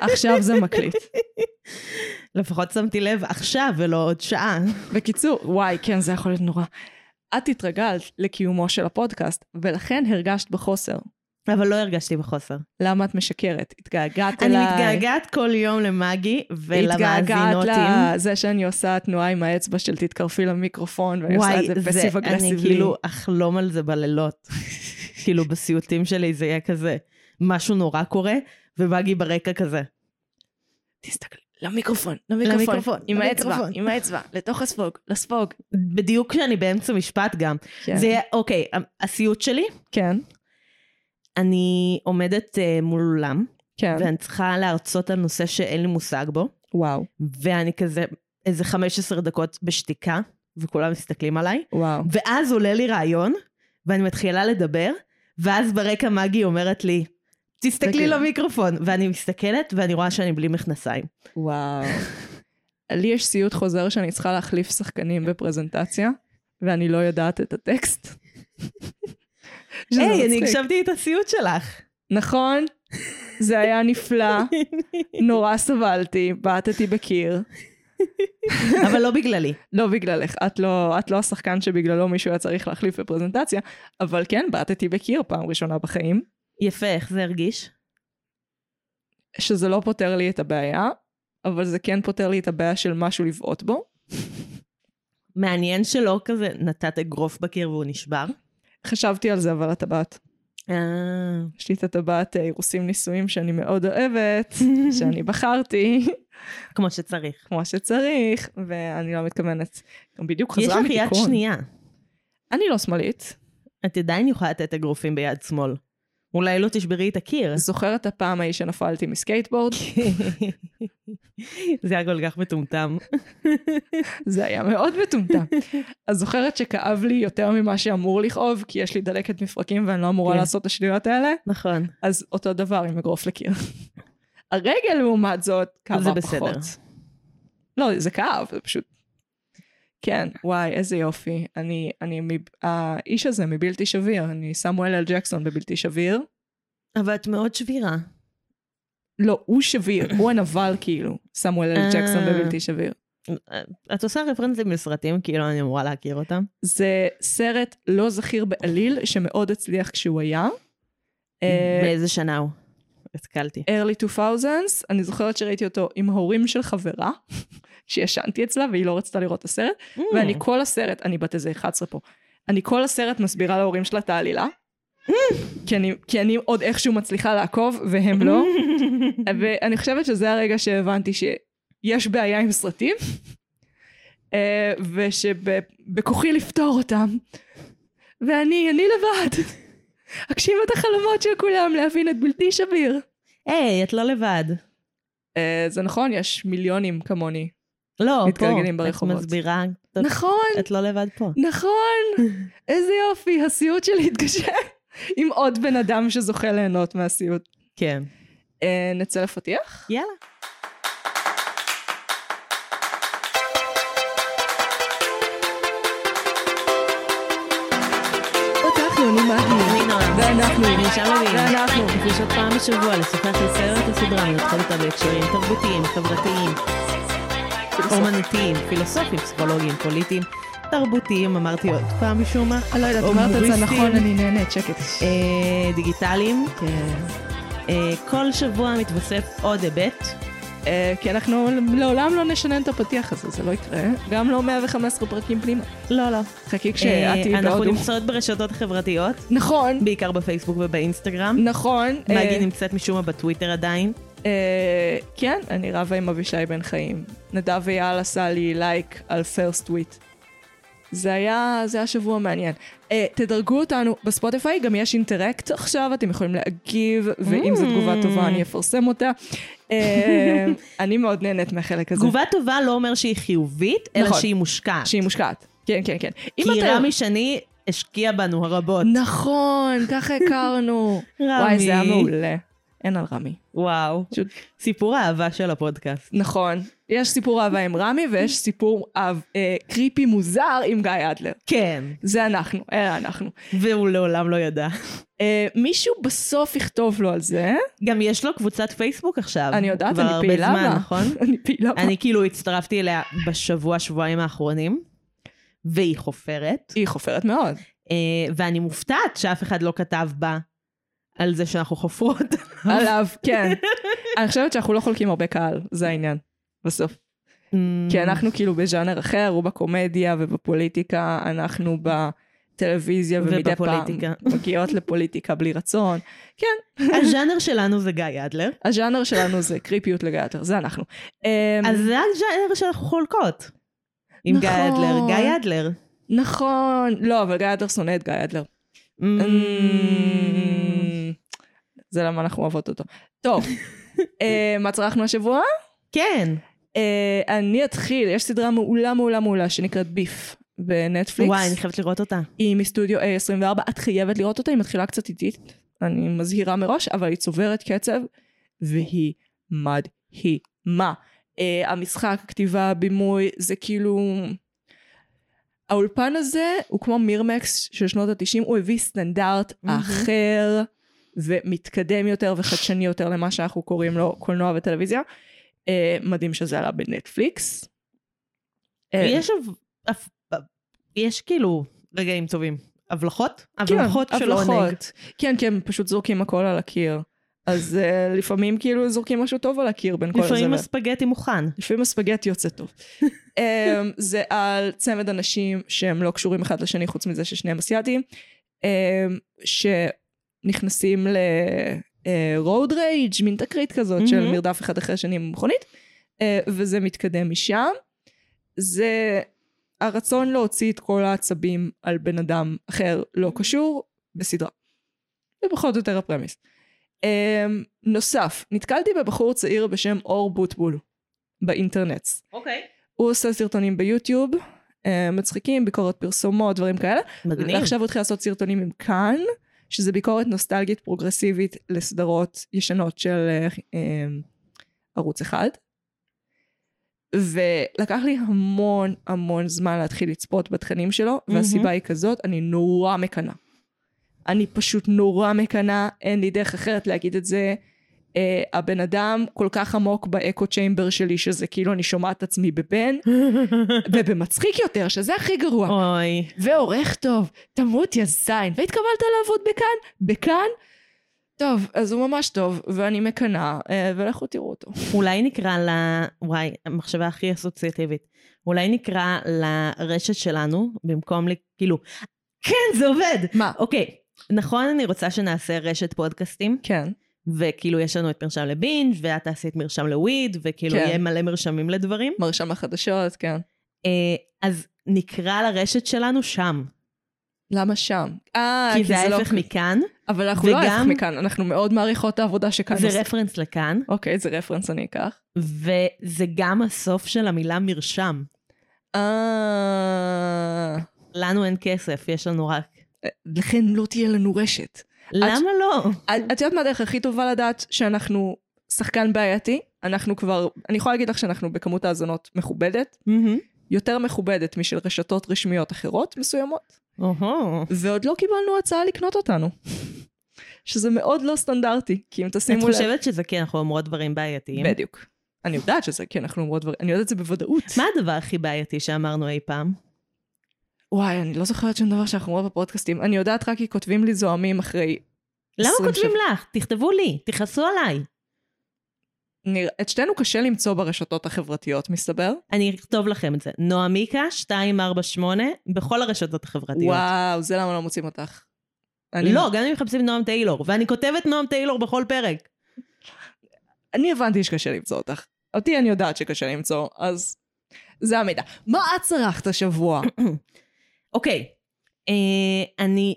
עכשיו זה מקליט. לפחות שמתי לב עכשיו ולא עוד שעה. בקיצור, וואי, כן, זה יכול להיות נורא. את התרגלת לקיומו של הפודקאסט, ולכן הרגשת בחוסר. אבל לא הרגשתי בחוסר. למה את משקרת? התגעגעת אני אליי. מתגעגעת כל יום למגי התגעגעת ולמאזינותים. לזה שאני עושה תנועה עם האצבע של תתקרפי למיקרופון, ואני עושה וואי, את זה פסיב אני אגרסיבלי. כאילו אחלום על זה בלילות. כאילו בסיוטים שלי זה יהיה כזה, משהו נורא קורה, ומגי ברקע כזה. תסתכלי, למיקרופון, למיקרופון, למיקרופון, עם האצבע, למיקרופון. עם האצבע, לתוך הספוג, לספוג. בדיוק כשאני באמצע משפט גם. כן. זה יהיה, אוקיי, הסיוט שלי, כן, אני עומדת אה, מול אולם, כן, ואני צריכה להרצות על נושא שאין לי מושג בו, וואו, ואני כזה איזה 15 דקות בשתיקה, וכולם מסתכלים עליי, וואו. ואז עולה לי רעיון, ואני מתחילה לדבר, ואז ברקע מגי אומרת לי, תסתכלי תסתכלי. למיקרופון, ואני מסתכלת, ואני רואה שאני בלי מכנסיים. וואו. לי יש סיוט חוזר שאני צריכה להחליף שחקנים בפרזנטציה, ואני לא יודעת את הטקסט. שזה היי, אני מצחיק. הקשבתי את הסיוט שלך. נכון, זה היה נפלא, נורא סבלתי, בעטתי בקיר. אבל לא בגללי. לא בגללך, את לא, את לא השחקן שבגללו מישהו היה צריך להחליף בפרזנטציה, אבל כן, בעטתי בקיר פעם ראשונה בחיים. יפה, איך זה הרגיש? שזה לא פותר לי את הבעיה, אבל זה כן פותר לי את הבעיה של משהו לבעוט בו. מעניין שלא כזה נתת אגרוף בקיר והוא נשבר. חשבתי על זה, אבל הטבעת. אה, יש לי את הטבעת אה, אירוסים נישואים שאני מאוד אוהבת, שאני בחרתי, כמו שצריך. כמו שצריך, ואני לא מתכוונת. גם בדיוק יש חזרה לך מתיקון. יד שנייה. אני לא שמאלית. את עדיין יכולה לתת אגרופים ביד שמאל. אולי לא תשברי את הקיר. זוכרת הפעם ההיא שנפלתי מסקייטבורד? זה היה כל כך מטומטם. זה היה מאוד מטומטם. אז זוכרת שכאב לי יותר ממה שאמור לכאוב, כי יש לי דלקת מפרקים ואני לא אמורה כן. לעשות את השטויות האלה? נכון. אז אותו דבר עם אגרוף לקיר. הרגל לעומת זאת כאבה זה פחות. בסדר. לא, זה כאב, זה פשוט... כן, וואי, איזה יופי. אני, אני, מב- האיש הזה מבלתי שביר, אני סמואל אל ג'קסון בבלתי שביר. אבל את מאוד שבירה. לא, הוא שביר, הוא הנבל כאילו, סמואל אל אה. ג'קסון בבלתי שביר. את עושה רפרנסים לסרטים, כאילו אני אמורה להכיר אותם. זה סרט לא זכיר בעליל, שמאוד הצליח כשהוא היה. אה, באיזה שנה הוא? התקלתי. early 2000s, אני זוכרת שראיתי אותו עם ההורים של חברה, שישנתי אצלה והיא לא רצתה לראות את הסרט, אה. Mm. ואני כל הסרט, אני בת איזה 11 פה, אני כל הסרט מסבירה להורים שלה את העלילה, כי אני- כי אני עוד איכשהו מצליחה לעקוב והם לא, ואני חושבת שזה הרגע שהבנתי שיש בעיה עם סרטים, אה, ושבכוחי לפתור אותם, ואני, אני לבד. אגשים את החלומות של כולם להבין את בלתי שביר. היי, את לא לבד. אה, זה נכון, יש מיליונים כמוני. לא, פה. מתגלגלים ברחובות. את מסבירה. את- נכון, את לא לבד פה. נכון. איזה יופי, הסיוט שלי התגשם. עם עוד בן אדם שזוכה ליהנות מהסיוט. כן. אה, נצא לפתיח? יאללה. פתחנו, אני מאמין. ואנחנו, ואנחנו. נפגשות פעם בשבוע לשוחח על סרט הסדרה ולדחות אותה בהקשרים תרבותיים, חברתיים, אומנותיים, פילוסופיים, פסיכולוגיים, פוליטיים, תרבותיים, אמרתי עוד פעם משום מה, אני לא יודעת, אומרת את זה נכון, הומוריסטים. אני נהנית, שקט. אה, דיגיטליים. כן. אה, כל שבוע מתווסף עוד היבט. אה, כי אנחנו לעולם לא נשנן את הפתיח הזה, זה לא יקרה. גם לא 115 פרקים פנימה. לא, לא. חכי כשאת תהיי אנחנו בהודו. נמצאות ברשתות חברתיות, נכון, בעיקר בפייסבוק ובאינסטגרם. נכון. אה, מגי נמצאת משום מה בטוויטר עדיין. אה, כן, אני רבה עם אבישי בן חיים. נדב אייל עשה לי לייק על פרסט טוויט. זה היה, זה היה שבוע מעניין. אה, תדרגו אותנו בספוטיפיי, גם יש אינטראקט עכשיו, אתם יכולים להגיב, ואם זו תגובה טובה אני אפרסם אותה. אה, אני מאוד נהנית מהחלק הזה. תגובה טובה לא אומר שהיא חיובית, אלא נכון. שהיא מושקעת. שהיא מושקעת. כן, כן, כן. אם כי אתה- רמי שני השקיע בנו הרבות. נכון, ככה הכרנו. רמי. וואי, זה היה מעולה. אין על רמי. וואו. פשוט- סיפור האהבה של הפודקאסט. נכון. יש סיפור אהבה עם רמי ויש סיפור אהב, אה, קריפי מוזר עם גיא אדלר. כן. זה אנחנו, אלה אנחנו. והוא לעולם לא ידע. אה, מישהו בסוף יכתוב לו על זה, גם יש לו קבוצת פייסבוק עכשיו. אני יודעת, כבר אני הרבה פעילה זמן, בה. נכון? אני פעילה. אני כאילו הצטרפתי אליה בשבוע, שבועיים האחרונים, והיא חופרת, היא חופרת מאוד. אה, ואני מופתעת שאף אחד לא כתב בה על זה שאנחנו חופרות. עליו, כן. אני חושבת שאנחנו לא חולקים הרבה קהל, זה העניין, בסוף. Mm. כי אנחנו כאילו בז'אנר אחר, הוא בקומדיה ובפוליטיקה, אנחנו בטלוויזיה ומדי פעם ובפוליטיקה. מגיעות לפוליטיקה בלי רצון. הז'אנר שלנו זה גיא אדלר, הז'אנר שלנו זה קריפיות לגייטר, זה אנחנו. אמ, אז זה הז'אנר שאנחנו חולקות. עם גיא נכון. אדלר, גיא אדלר. נכון, לא, אבל גיא אדלר שונא את גיא אדלר. Mm. אמ, זה למה אנחנו אוהבות אותו. טוב, אה, מה צרכנו השבוע? כן, אה, אני אתחיל, יש סדרה מעולה מעולה מעולה שנקראת ביף בנטפליקס. וואי, אני חייבת לראות אותה. היא מסטודיו A24, את חייבת לראות אותה, היא מתחילה קצת איטית, אני מזהירה מראש, אבל היא צוברת קצב, והיא מדהימה. Uh, המשחק, הכתיבה, הבימוי, זה כאילו... האולפן הזה הוא כמו מירמקס של שנות התשעים, הוא הביא סטנדרט מהמם. אחר ומתקדם יותר וחדשני יותר למה שאנחנו קוראים לו קולנוע וטלוויזיה. Uh, מדהים שזה עלה בנטפליקס. אה, יש אב- אף- אב- יש כאילו רגעים טובים. הבלחות? כן, הבלחות של עונג. כן, כי הם פשוט זורקים הכל על הקיר. אז אה, לפעמים כאילו זורקים משהו טוב על הקיר בין כל לפעמים הזמן. הספגטי מוכן. לפעמים הספגטי יוצא טוב. אה, זה על צמד אנשים שהם לא קשורים אחד לשני חוץ מזה ששניהם אסיאתים, אה, שנכנסים ל-road rage, מין תקרית כזאת של מהמם. מרדף אחד אחרי השני עם מכונית, אה, וזה מתקדם משם. זה הרצון להוציא את כל העצבים על בן אדם אחר לא קשור בסדרה. זה פחות או יותר הפרמיס. אמ, נוסף, נתקלתי בבחור צעיר בשם אור בוטבול באינטרנט. אוקיי. הוא עושה סרטונים ביוטיוב, אה, מצחיקים, ביקורת פרסומות, דברים כאלה. מגניב. ועכשיו הוא התחיל לעשות סרטונים עם כאן, שזה ביקורת נוסטלגית פרוגרסיבית לסדרות ישנות של אה, אה, ערוץ אחד. ולקח לי המון המון זמן להתחיל לצפות בתכנים שלו, והסיבה היא כזאת, אני נורא מקנאה. אני פשוט נורא מקנאה, אין לי דרך אחרת להגיד את זה. אה, הבן אדם כל כך עמוק באקו צ'יימבר שלי, שזה כאילו אני שומעת את עצמי בבן, ובמצחיק יותר, שזה הכי גרוע. אוי. ועורך טוב, תמות יא זין, והתקבלת לעבוד בכאן? בכאן? טוב, אז הוא ממש טוב, ואני מקנאה, אה, ולכו תראו אותו. אולי נקרא ל... וואי, המחשבה הכי אסוציאטיבית. אולי נקרא לרשת שלנו, במקום ל... כאילו... כן, זה עובד! מה? אוקיי, נכון, אני רוצה שנעשה רשת פודקאסטים, כן. וכאילו יש לנו את מרשם לבינג', ואת תעשי את מרשם לוויד, וכאילו כן. יהיה מלא מרשמים לדברים. מרשם החדשות, כן. אה, אז נקרא לרשת שלנו שם. למה שם? אה, כי זה לא- ההפך מכאן, אבל אנחנו לא וגם- ההפך מכאן, אנחנו מאוד מעריכות את העבודה שכאן. זה עושים. רפרנס לכאן, אוקיי, זה רפרנס, אני אקח. וזה גם הסוף של המילה מרשם. אה... לנו אין כסף, יש לנו רק... לכן לא תהיה לנו רשת. למה לא? את את יודעת מה הדרך הכי טובה לדעת שאנחנו שחקן בעייתי? אנחנו כבר, אני יכולה להגיד לך שאנחנו בכמות האזנות מכובדת, מהמם. יותר מכובדת משל רשתות רשמיות אחרות מסוימות, אוהו. ועוד לא קיבלנו הצעה לקנות אותנו. שזה מאוד לא סטנדרטי, כי אם את תשימו לב... חושבת שזה כי אנחנו אומרות דברים בעייתיים? בדיוק. אני יודעת שזה, כי אנחנו אומרות דברים, אני יודעת את זה בוודאות. מה הדבר הכי בעייתי שאמרנו אי פעם? וואי, אני לא זוכרת שום דבר שאנחנו אומרות בפודקאסטים. אני יודעת רק כי כותבים לי זוהמים אחרי... למה 20 כותבים שב- לך? תכתבו לי, תכעסו עליי. נראה- את שתינו קשה למצוא ברשתות החברתיות, מסתבר. אני אכתוב לכם את זה. נועמיקה 248 בכל הרשתות החברתיות. וואו, זה למה לא מוצאים אותך. אני- לא, גם אם מחפשים נועם טיילור, ואני כותבת נועם טיילור בכל פרק. אני הבנתי שקשה למצוא אותך. אותי אני יודעת שקשה למצוא, אז זה המידע. מה את צרכת השבוע? אוקיי, אה, אני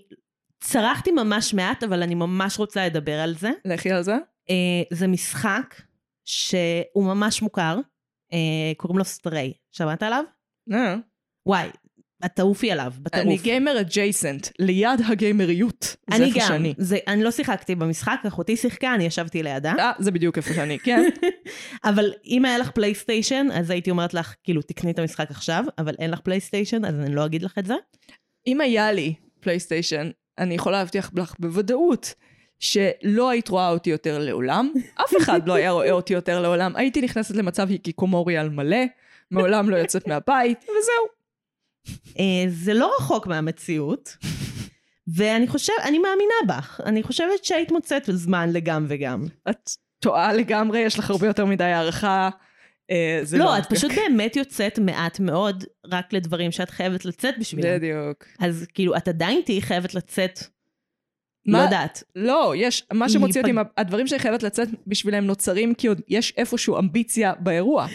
צרחתי ממש מעט, אבל אני ממש רוצה לדבר על זה. לכי על זה? אה, זה משחק שהוא ממש מוכר, אה, קוראים לו סטריי. שמעת עליו? אה, וואי, את תעופי עליו, בטירוף. אני גיימר אג'ייסנט, ליד הגיימריות. זה אני איפה גם, שאני. זה, אני לא שיחקתי במשחק, אחותי שיחקה, אני ישבתי לידה, אה, זה בדיוק איפה שאני, כן. אבל אם היה לך פלייסטיישן, אז הייתי אומרת לך, כאילו, תקני את המשחק עכשיו, אבל אין לך פלייסטיישן, אז אני לא אגיד לך את זה. אם היה לי פלייסטיישן, אני יכולה להבטיח לך בוודאות שלא היית רואה אותי יותר לעולם, אף אחד לא היה רואה אותי יותר לעולם, הייתי נכנסת למצב היקיקומורי על מלא, מעולם לא יוצאת מהבית, וזהו. אה, זה לא רחוק מהמציאות, ואני חושבת, אני מאמינה בך. אני חושבת שהיית מוצאת זמן לגם וגם. את טועה לגמרי, יש לך הרבה יותר מדי הערכה. אה, זה לא, לא את פשוט באמת יוצאת מעט מאוד רק לדברים שאת חייבת לצאת בשבילם. בדיוק. אז כאילו, את עדיין תהיי חייבת לצאת, לא מה- יודעת. לא, יש, מה שמוציא אותי, להיפג- מה- הדברים שאני חייבת לצאת בשבילם נוצרים כי עוד יש איפשהו אמביציה באירוע.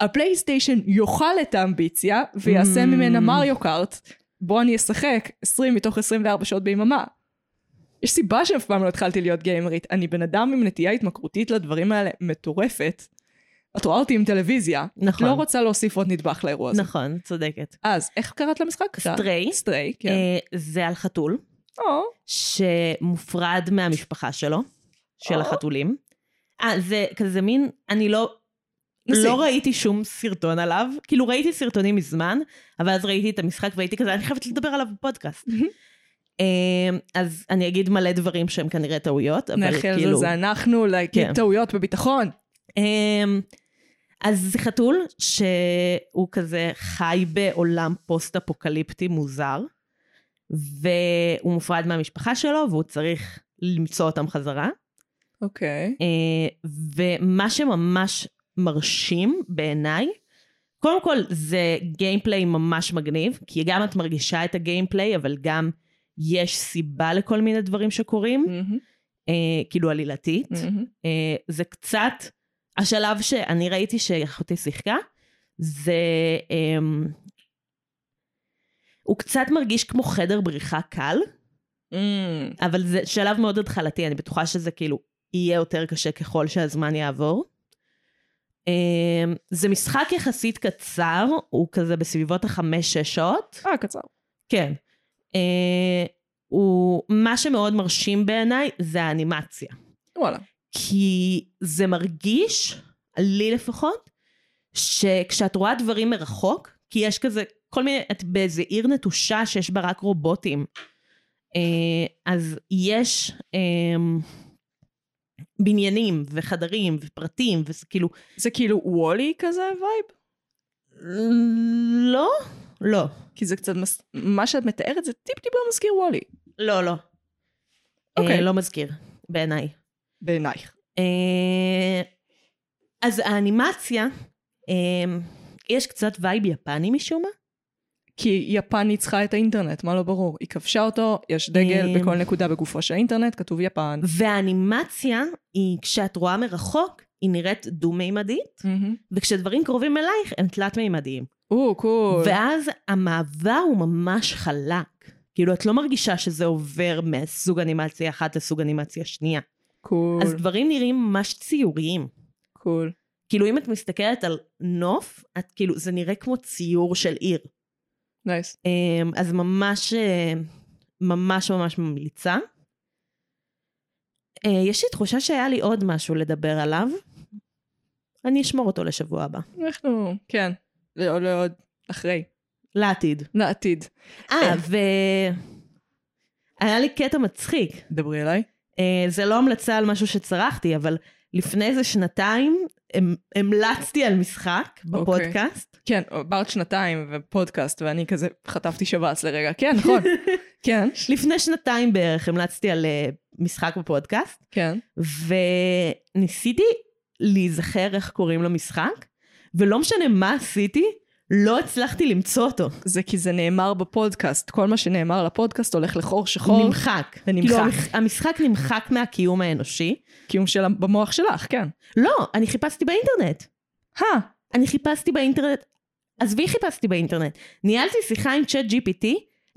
הפלייסטיישן יאכל את האמביציה ויעשה Mm. ממנה מריו קארט, בו אני אשחק 20 מתוך 24 שעות ביממה. יש סיבה שאף פעם לא התחלתי להיות גיימרית, אני בן אדם עם נטייה התמכרותית לדברים האלה מטורפת. את רואה אותי עם טלוויזיה, את נכון. לא רוצה להוסיף עוד נדבך לאירוע הזה. נכון, צודקת. אז, איך קראת למשחק? סטריי, סטריי, כן. אה, זה על חתול, או, שמופרד מהמשפחה שלו, של או. החתולים. אה, זה כזה מין, אני לא, נשיא. לא ראיתי שום סרטון עליו, כאילו ראיתי סרטונים מזמן, אבל אז ראיתי את המשחק והייתי כזה, אני חייבת לדבר עליו בפודקאסט. מהמם. אה, אז אני אגיד מלא דברים שהם כנראה טעויות, אבל נאחל כאילו... זה אנחנו, להגיד כן. טעויות בביטחון. אמ, אז זה חתול שהוא כזה חי בעולם פוסט-אפוקליפטי מוזר, והוא מופרד מהמשפחה שלו והוא צריך למצוא אותם חזרה. אוקיי. אה, ומה שממש מרשים בעיניי, קודם כל זה גיימפליי ממש מגניב, כי גם את מרגישה את הגיימפליי, אבל גם יש סיבה לכל מיני דברים שקורים, אה, כאילו עלילתית. אה, זה קצת, השלב שאני ראיתי שאחותי שיחקה, זה... אה, הוא קצת מרגיש כמו חדר בריחה קל, Mm, אבל זה שלב מאוד התחלתי, אני בטוחה שזה כאילו יהיה יותר קשה ככל שהזמן יעבור. אה, זה משחק יחסית קצר, הוא כזה בסביבות החמש-שש שעות. אה, קצר. כן. אה, הוא, מה שמאוד מרשים בעיניי זה האנימציה. וואלה. כי זה מרגיש, לי לפחות, שכשאת רואה דברים מרחוק, כי יש כזה כל מיני, את באיזה עיר נטושה שיש בה רק רובוטים. אה, אז יש אה, בניינים וחדרים ופרטים, וזה כאילו, זה כאילו וולי כזה וייב? לא, לא, כי זה קצת, מס... מה שאת מתארת זה טיפ טיפה מזכיר וולי. לא, לא. אוקיי. אה, לא מזכיר, בעיניי. בעינייך. אה, אז האנימציה, אה, יש קצת וייב יפני משום מה. כי יפן ניצחה את האינטרנט, מה לא ברור? היא כבשה אותו, יש דגל אמ, בכל נקודה בגופו של האינטרנט, כתוב יפן. והאנימציה היא, כשאת רואה מרחוק, היא נראית דו-מימדית, וכשדברים קרובים אלייך הם תלת-מימדיים. או, קול. ואז המעבר הוא ממש חלק. כאילו, את לא מרגישה שזה עובר מסוג אנימציה אחת לסוג אנימציה שנייה. קול. אז דברים נראים ממש ציוריים. קול. כאילו, אם את מסתכלת על נוף, את כאילו, זה נראה כמו ציור של עיר. נייס. אמ, אז ממש, אה, ממש ממש ממליצה. אה, יש לי תחושה שהיה לי עוד משהו לדבר עליו. אני אשמור אותו לשבוע הבא. אנחנו, כן. לעוד, לעוד, אחרי. לעתיד. לעתיד. אה, אה. ו... היה לי קטע מצחיק. דברי אליי. אה, זה לא המלצה על משהו שצרחתי, אבל לפני איזה שנתיים המ- המלצתי על משחק בפודקאסט. כן, ברת שנתיים ופודקאסט, ואני כזה חטפתי שבץ לרגע. כן, נכון. כן. לפני שנתיים בערך המלצתי על אה, משחק בפודקאסט. כן. וניסיתי להיזכר איך קוראים למשחק, ולא משנה מה עשיתי, לא הצלחתי למצוא אותו. זה כי זה נאמר בפודקאסט. כל מה שנאמר לפודקאסט הולך לחור שחור. נמחק. נכון. ונמחק. כאילו, המש- המשחק נמחק מהקיום האנושי. קיום של במוח שלך, כן. לא, אני חיפשתי באינטרנט. הא, אני חיפשתי באינטרנט. עזבי חיפשתי באינטרנט. ניהלתי שיחה עם צ'אט GPT,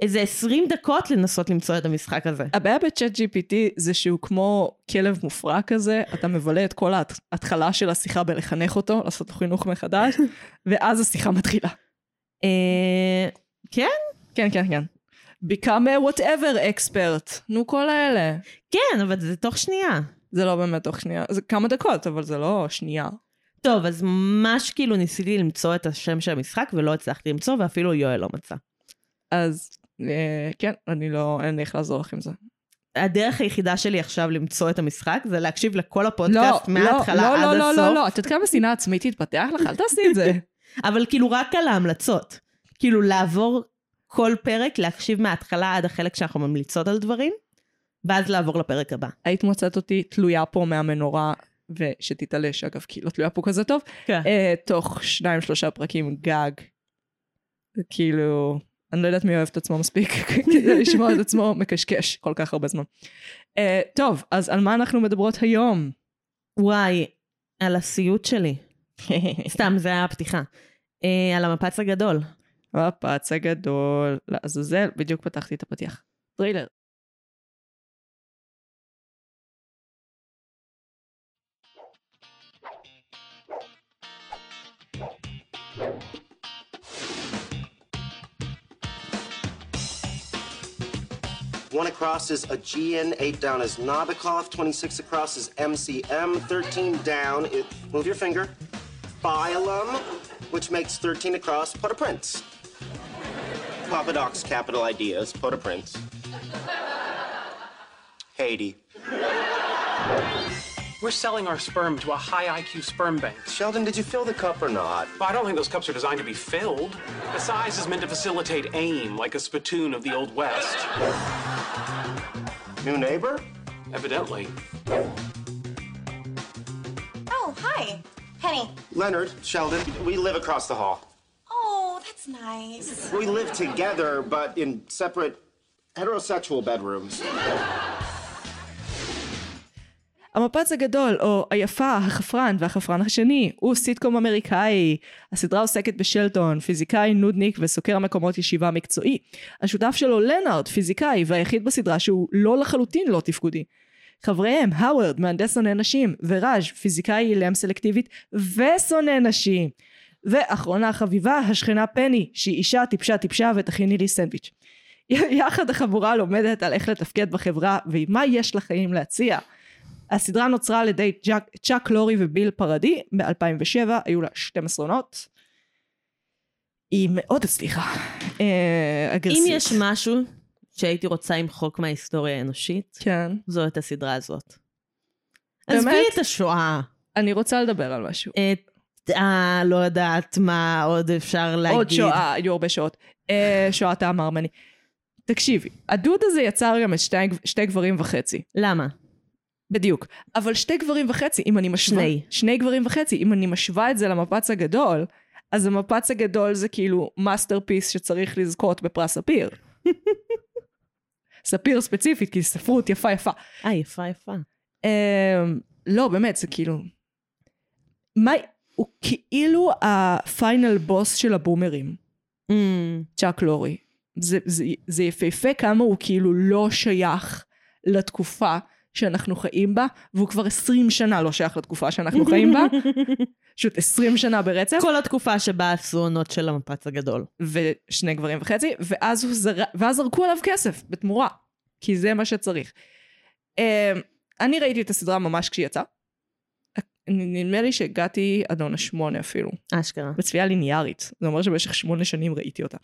איזה 20 דקות לנסות למצוא את המשחק הזה. הבעיה בצ'אט GPT זה שהוא כמו כלב מופרע כזה, אתה מבלה את כל ההתחלה של השיחה בלחנך אותו, לעשות לו חינוך מחדש, ואז השיחה מתחילה. אה, כן? כן, כן, כן. become a whatever expert. נו, כל האלה. כן, אבל זה תוך שנייה. זה לא באמת תוך שנייה, זה כמה דקות, אבל זה לא שנייה. טוב, אז ממש כאילו ניסיתי למצוא את השם של המשחק ולא הצלחתי למצוא, ואפילו יואל לא מצא. אז אה, כן, אני לא, אין לי איך לעזור לך עם זה. הדרך היחידה שלי עכשיו למצוא את המשחק זה להקשיב לכל הפודקאסט מההתחלה עד לא, הסוף. לא, לא, לא, את יודעת כמה שנאה עצמית תתפתח לך? אל תעשי את זה. אבל כאילו רק על ההמלצות. כאילו לעבור כל פרק, להקשיב מההתחלה עד החלק שאנחנו ממליצות על דברים, ואז לעבור לפרק הבא. היית מוצאת אותי תלויה פה מהמנורה, ושתתעלש אגב, כי לא תלויה פה כזה טוב, כן. אה, תוך שניים שלושה פרקים גג. כאילו, אני לא יודעת מי אוהב את עצמו מספיק כדי לשמוע את עצמו מקשקש כל כך הרבה זמן. אה, טוב, אז על מה אנחנו מדברות היום? וואי, על הסיוט שלי. סתם, זה היה הפתיחה. אה, על המפץ הגדול. הפץ הגדול, לעזאזל, בדיוק פתחתי את הפתיח. טריילר. One across is Aegean, eight down is Nabokov, 26 across is MCM, 13 down is. Move your finger. Phylum, which makes 13 across Port au Prince. Papa Doc's capital idea is Port au Prince. Haiti. We're selling our sperm to a high IQ sperm bank. Sheldon, did you fill the cup or not? But I don't think those cups are designed to be filled. The size is meant to facilitate aim, like a spittoon of the Old West. New neighbor? Evidently. Oh, hi. Penny. Leonard, Sheldon, we live across the hall. Oh, that's nice. We live together, but in separate heterosexual bedrooms. המפץ הגדול, או היפה, החפרן והחפרן השני, הוא סיטקום אמריקאי. הסדרה עוסקת בשלטון, פיזיקאי נודניק וסוקר מקומות ישיבה מקצועי. השותף שלו לנארד, פיזיקאי, והיחיד בסדרה שהוא לא לחלוטין לא תפקודי. חבריהם, האוורד, מהנדס שונא נשים, וראז', פיזיקאי אילם סלקטיבית ושונא נשים. ואחרונה חביבה, השכנה פני, שהיא אישה טיפשה טיפשה ותכיני לי סנדוויץ'. יחד החבורה לומדת על איך לתפקד בחברה ומה יש לחיים להציע. הסדרה נוצרה על ידי ג'ק, צ'אק לורי וביל פרדי ב-2007, היו לה 12 עונות. היא מאוד הצליחה. אה, אם אגרסיבית. יש משהו שהייתי רוצה למחוק מההיסטוריה האנושית, כן. זו את הסדרה הזאת. באמת? עזבי את השואה. אני רוצה לדבר על משהו. את אה, לא יודעת מה עוד אפשר להגיד. עוד שואה, היו הרבה שעות. אה, שואת העם הארמני. תקשיבי, הדוד הזה יצר גם את שתי, שתי גברים וחצי. למה? בדיוק. אבל שתי גברים וחצי, אם אני משווה... שני. שני גברים וחצי. אם אני משווה את זה למפץ הגדול, אז המפץ הגדול זה כאילו מאסטרפיס שצריך לזכות בפרס ספיר. ספיר ספציפית, כי ספרות יפה יפה. אה, יפה יפה. אמ, לא, באמת, זה כאילו... מה... הוא כאילו הפיינל בוס של הבומרים, אמ, צ'אק לורי. זה, זה, זה יפהפה כמה הוא כאילו לא שייך לתקופה שאנחנו חיים בה, והוא כבר 20 שנה לא שייך לתקופה שאנחנו חיים בה. פשוט 20 שנה ברצף, כל התקופה שבה עשו עונות של המפץ הגדול. ושני גברים וחצי, ואז, הוא זר... ואז זרקו עליו כסף בתמורה, כי זה מה שצריך. אמ, אני ראיתי את הסדרה ממש כשהיא יצאה. נדמה לי שהגעתי עד עונה שמונה אפילו, אשכרה. בצפייה ליניארית. זה אומר שבמשך שמונה שנים ראיתי אותה.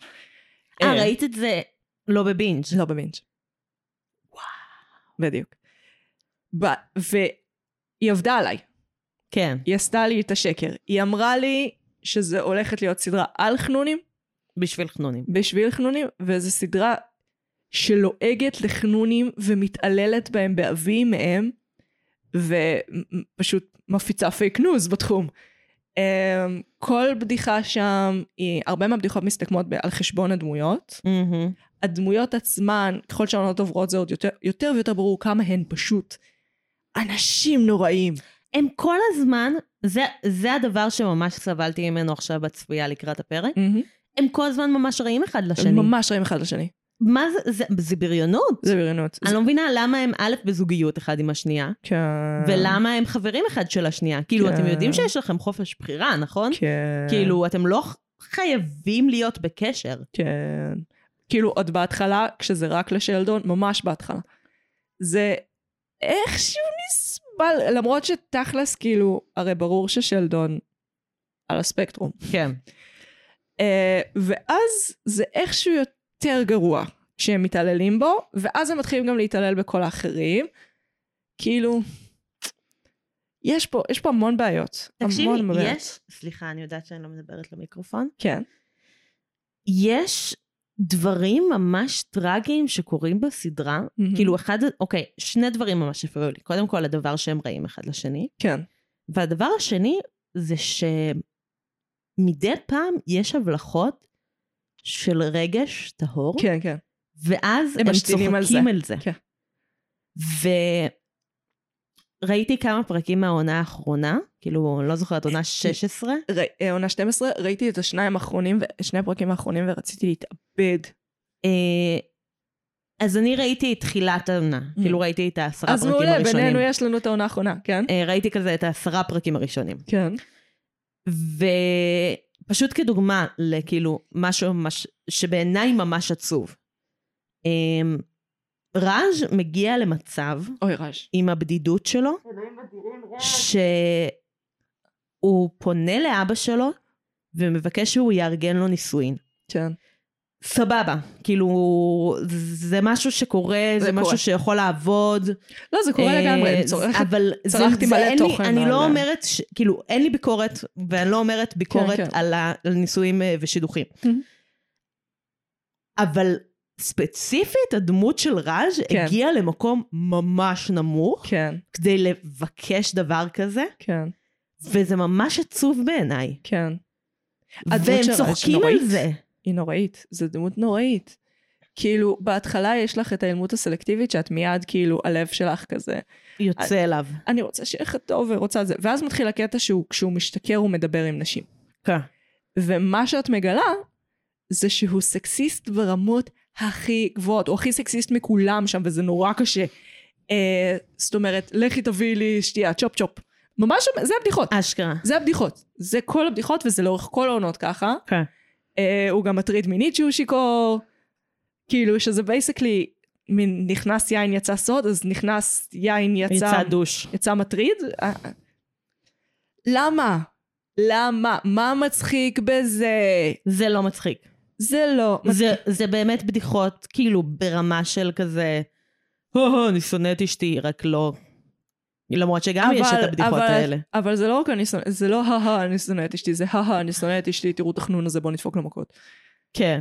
אה, אה, ראית את זה לא בבינג'. לא בבינג'. וואו. בדיוק. ב... והיא עבדה עליי. כן. היא עשתה לי את השקר. היא אמרה לי שזה הולכת להיות סדרה על חנונים, בשביל חנונים. בשביל חנונים, וזו סדרה שלועגת לחנונים ומתעללת בהם באבים מהם, ופשוט מפיצה פייק ניוז בתחום. אמ, כל בדיחה שם, היא, הרבה מהבדיחות מסתכמות ב- על חשבון הדמויות. מהמם. הדמויות עצמן, ככל שהעונות עוברות זה עוד יותר, יותר ויותר ברור כמה הן פשוט אנשים נוראים. הם כל הזמן, זה, זה הדבר שממש סבלתי ממנו עכשיו בצפייה לקראת הפרק, הם כל הזמן ממש רעים אחד לשני. ממש רעים אחד לשני. מה זה, זה, זה בריונות. זה בריונות. אני לא מבינה למה הם א' בזוגיות אחד עם השנייה, כן. ולמה הם חברים אחד של השנייה. כאילו, כן. אתם יודעים שיש לכם חופש בחירה, נכון? כן. כאילו, אתם לא חייבים להיות בקשר. כן. כאילו עוד בהתחלה, כשזה רק לשלדון, ממש בהתחלה. זה איכשהו נסבל, למרות שתכלס, כאילו, הרי ברור ששלדון על הספקטרום. כן. אה, ואז זה איכשהו יותר גרוע שהם מתעללים בו, ואז הם מתחילים גם להתעלל בכל האחרים. כאילו, יש פה, יש פה המון בעיות. תקשיבי, המון בעיות. יש, סליחה, אני יודעת שאני לא מדברת למיקרופון. כן. יש דברים ממש טרגיים שקורים בסדרה. מהמם. כאילו, אחד, אוקיי, שני דברים ממש הפריעו לי. קודם כל, הדבר שהם רעים אחד לשני. כן. והדבר השני זה שמדי פעם יש הבלחות של רגש טהור, כן, כן. ואז הם הם, משתינים צוחקים על על זה. זה. כן. וראיתי כמה פרקים מהעונה האחרונה, כאילו, אני לא זוכרת, אה, עונה 16. ר- אה, עונה 12, ראיתי את השניים האחרונים, ו- שני הפרקים האחרונים ורציתי להתאבד. אה, אז אני ראיתי את תחילת העונה, כאילו ראיתי את העשרה אה. אז פרקים מעולה, הראשונים. בינינו יש לנו את העונה האחרונה, כן? אה, ראיתי כזה את העשרה פרקים הראשונים. כן. ופשוט כדוגמה לכאילו משהו ממש, שבעיניי ממש עצוב. אמ, ראז' מגיע למצב אוי רעש. עם הבדידות שלו, שהוא פונה לאבא שלו ומבקש שהוא יארגן לו נישואין. כן. סבבה, כאילו זה משהו שקורה, זה זה, קורה. משהו שיכול לעבוד. לא, זה קורה אה, לגמרי, אני זה- צורכת. אבל זה- צרכתי זה מלא אין לי- תוכן אני על- לא אומרת, ש- כאילו, אין לי ביקורת, ואני לא אומרת ביקורת כן. על ה- על נישואים אה, ושידוכים. מהמם. אבל ספציפית, הדמות של ראז' כן. הגיעה למקום ממש נמוך, כן, כדי לבקש דבר כזה, כן, וזה ממש עצוב בעיניי. כן. הדמות והם של ראז' צוחקים על נוראית. זה. היא נוראית, זו דמות נוראית. כאילו, בהתחלה יש לך את האלימות הסלקטיבית שאת מיד, כאילו, הלב שלך כזה. יוצא אליו. אני רוצה שיהיה לך טוב ורוצה זה. ואז מתחיל הקטע שהוא, כשהוא משתכר הוא מדבר עם נשים. כן. ומה שאת מגלה זה שהוא סקסיסט ברמות הכי גבוהות, הוא הכי סקסיסט מכולם שם וזה נורא קשה. אה, זאת אומרת, לכי תביאי לי שתייה, צ'ופ צ'ופ. ממש, זה הבדיחות, אשכרה. זה הבדיחות. זה כל הבדיחות וזה לאורך כל העונות ככה. כן. אה, הוא גם מטריד מינית שהוא שיכור. כאילו שזה בייסקלי, מין נכנס יין יצא סוד, אז נכנס יין יצא... יצא דוש. יצא מטריד? אה, אה. למה? למה? מה מצחיק בזה? זה לא מצחיק. זה לא. זה, זה באמת בדיחות, כאילו, ברמה של כזה, "הו, אני שונא את אשתי, רק לא. למרות שגם יש את הבדיחות אבל, האלה. אבל זה לא רק אני שונא, זה לא הא אני שונא את אשתי, זה הא אני שונא את אשתי, תראו את החנון הזה, בואו נדפוק לו מכות. כן.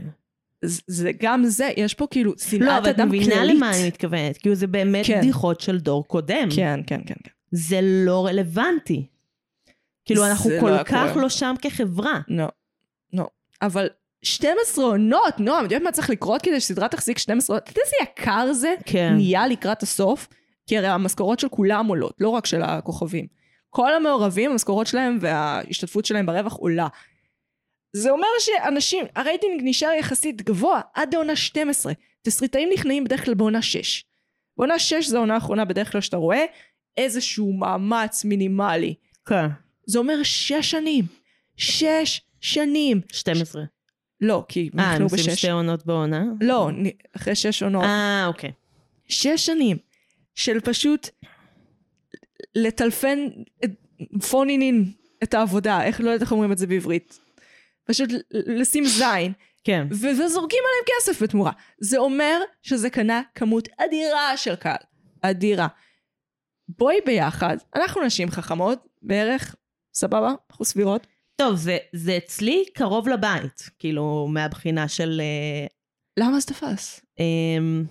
זה, זה גם זה, יש פה כאילו שנאת אדם לא, אבל כללית. את מבינה למה אני מתכוונת. כאילו, זה באמת כן. בדיחות של דור קודם. כן, כן, כן, כן. זה לא רלוונטי. כאילו, זה אנחנו לא כל היה כך קורה. לא שם כחברה. לא. לא. אבל 12 עונות, נועם, את יודעת מה צריך לקרות כדי שסדרה תחזיק 12 עונות? את יודעת איזה יקר זה? כן. נהיה לקראת הסוף, כי הרי המשכורות של כולם עולות, לא רק של הכוכבים. כל המעורבים, המשכורות שלהם וההשתתפות שלהם ברווח עולה. זה אומר שאנשים, הרייטינג נשאר יחסית גבוה עד לעונה 12. תסריטאים נכנעים בדרך כלל בעונה 6. בעונה 6 זו העונה האחרונה בדרך כלל שאתה רואה איזשהו מאמץ מינימלי. כן. זה אומר שש שנים. שש שנים. 12. לא, כי אה, הם נכנעו עושים בשש. שתי עונות בעונה? לא, נ- אחרי שש עונות. אה, אוקיי. שש שנים של פשוט לטלפן פונינין את העבודה, איך לא יודעת איך אומרים את זה בעברית. פשוט ל- לשים זין, כן. ו- וזורקים עליהם כסף בתמורה. זה אומר שזה קנה כמות אדירה של קהל. אדירה. בואי ביחד, אנחנו נשים חכמות בערך, סבבה? אנחנו סבירות. טוב, זה, זה אצלי קרוב לבית, כאילו, מהבחינה של... אה, למה זה תפס? אמ,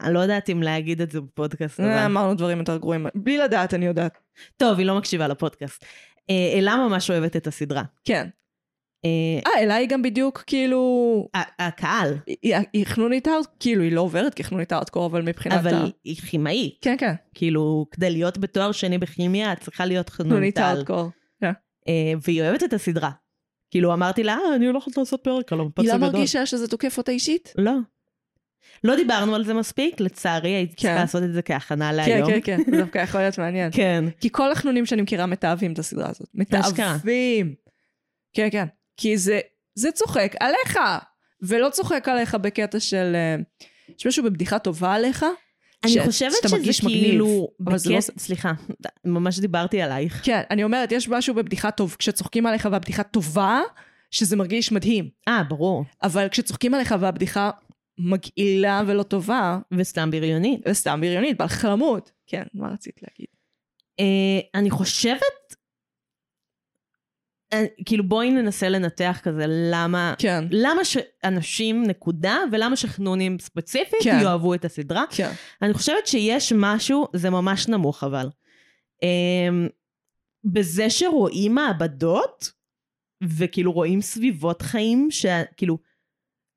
אני לא יודעת אם להגיד את זה בפודקאסט, אה, אבל... אמרנו דברים יותר גרועים. בלי לדעת, אני יודעת. טוב, היא לא מקשיבה לפודקאסט. אה, אלה ממש אוהבת את הסדרה. כן. אה, אה, אליי גם בדיוק, כאילו... ה- הקהל, היא היא חנונית הארד, כאילו היא לא עוברת כחנונית הארדקור, אבל מבחינת אבל ה... היא כימאית. כן, כן, כאילו, כדי להיות בתואר שני בכימיה, את צריכה להיות חנונית חנונית על. הארדקור. אה, והיא אוהבת את הסדרה. כאילו, אמרתי לה, אה, אני הולכת לעשות פרק על המפץ היא לא הגדול. מרגישה שזה תוקף אותה אישית? לא. לא דיברנו על זה מספיק, לצערי הייתי צריכה כן. לעשות את זה כהכנה כן, להיום. כן, כן, זה דווקא יכול להיות מעניין. כן. כי כל החנונים שאני מכירה מתעבים את הסדרה הזאת. אשכרה. מתעבים. כן, כן. כי זה, זה צוחק עליך, ולא צוחק עליך בקטע של... אה, יש משהו בבדיחה טובה עליך? אני ש- חושבת שאתה שזה מרגיש כאילו... מגניב, אבל זה לא- בקטע- סליחה, ממש דיברתי עלייך. כן, אני אומרת, יש משהו בבדיחה טוב, כשצוחקים עליך והבדיחה טובה, שזה מרגיש מדהים. אה, ברור. אבל כשצוחקים עליך והבדיחה מגעילה ולא טובה, וסתם בריונית. זה סתם בריונית, בעל חלמות. כן, מה רצית להגיד? אה, אני חושבת... אה, כאילו בואי ננסה לנתח כזה למה... כן, למה שאנשים נקודה ולמה שחנונים ספציפית כן. יאהבו את הסדרה. כן. אני חושבת שיש משהו, זה ממש נמוך אבל. אמ, בזה שרואים מעבדות, וכאילו רואים סביבות חיים, שכאילו,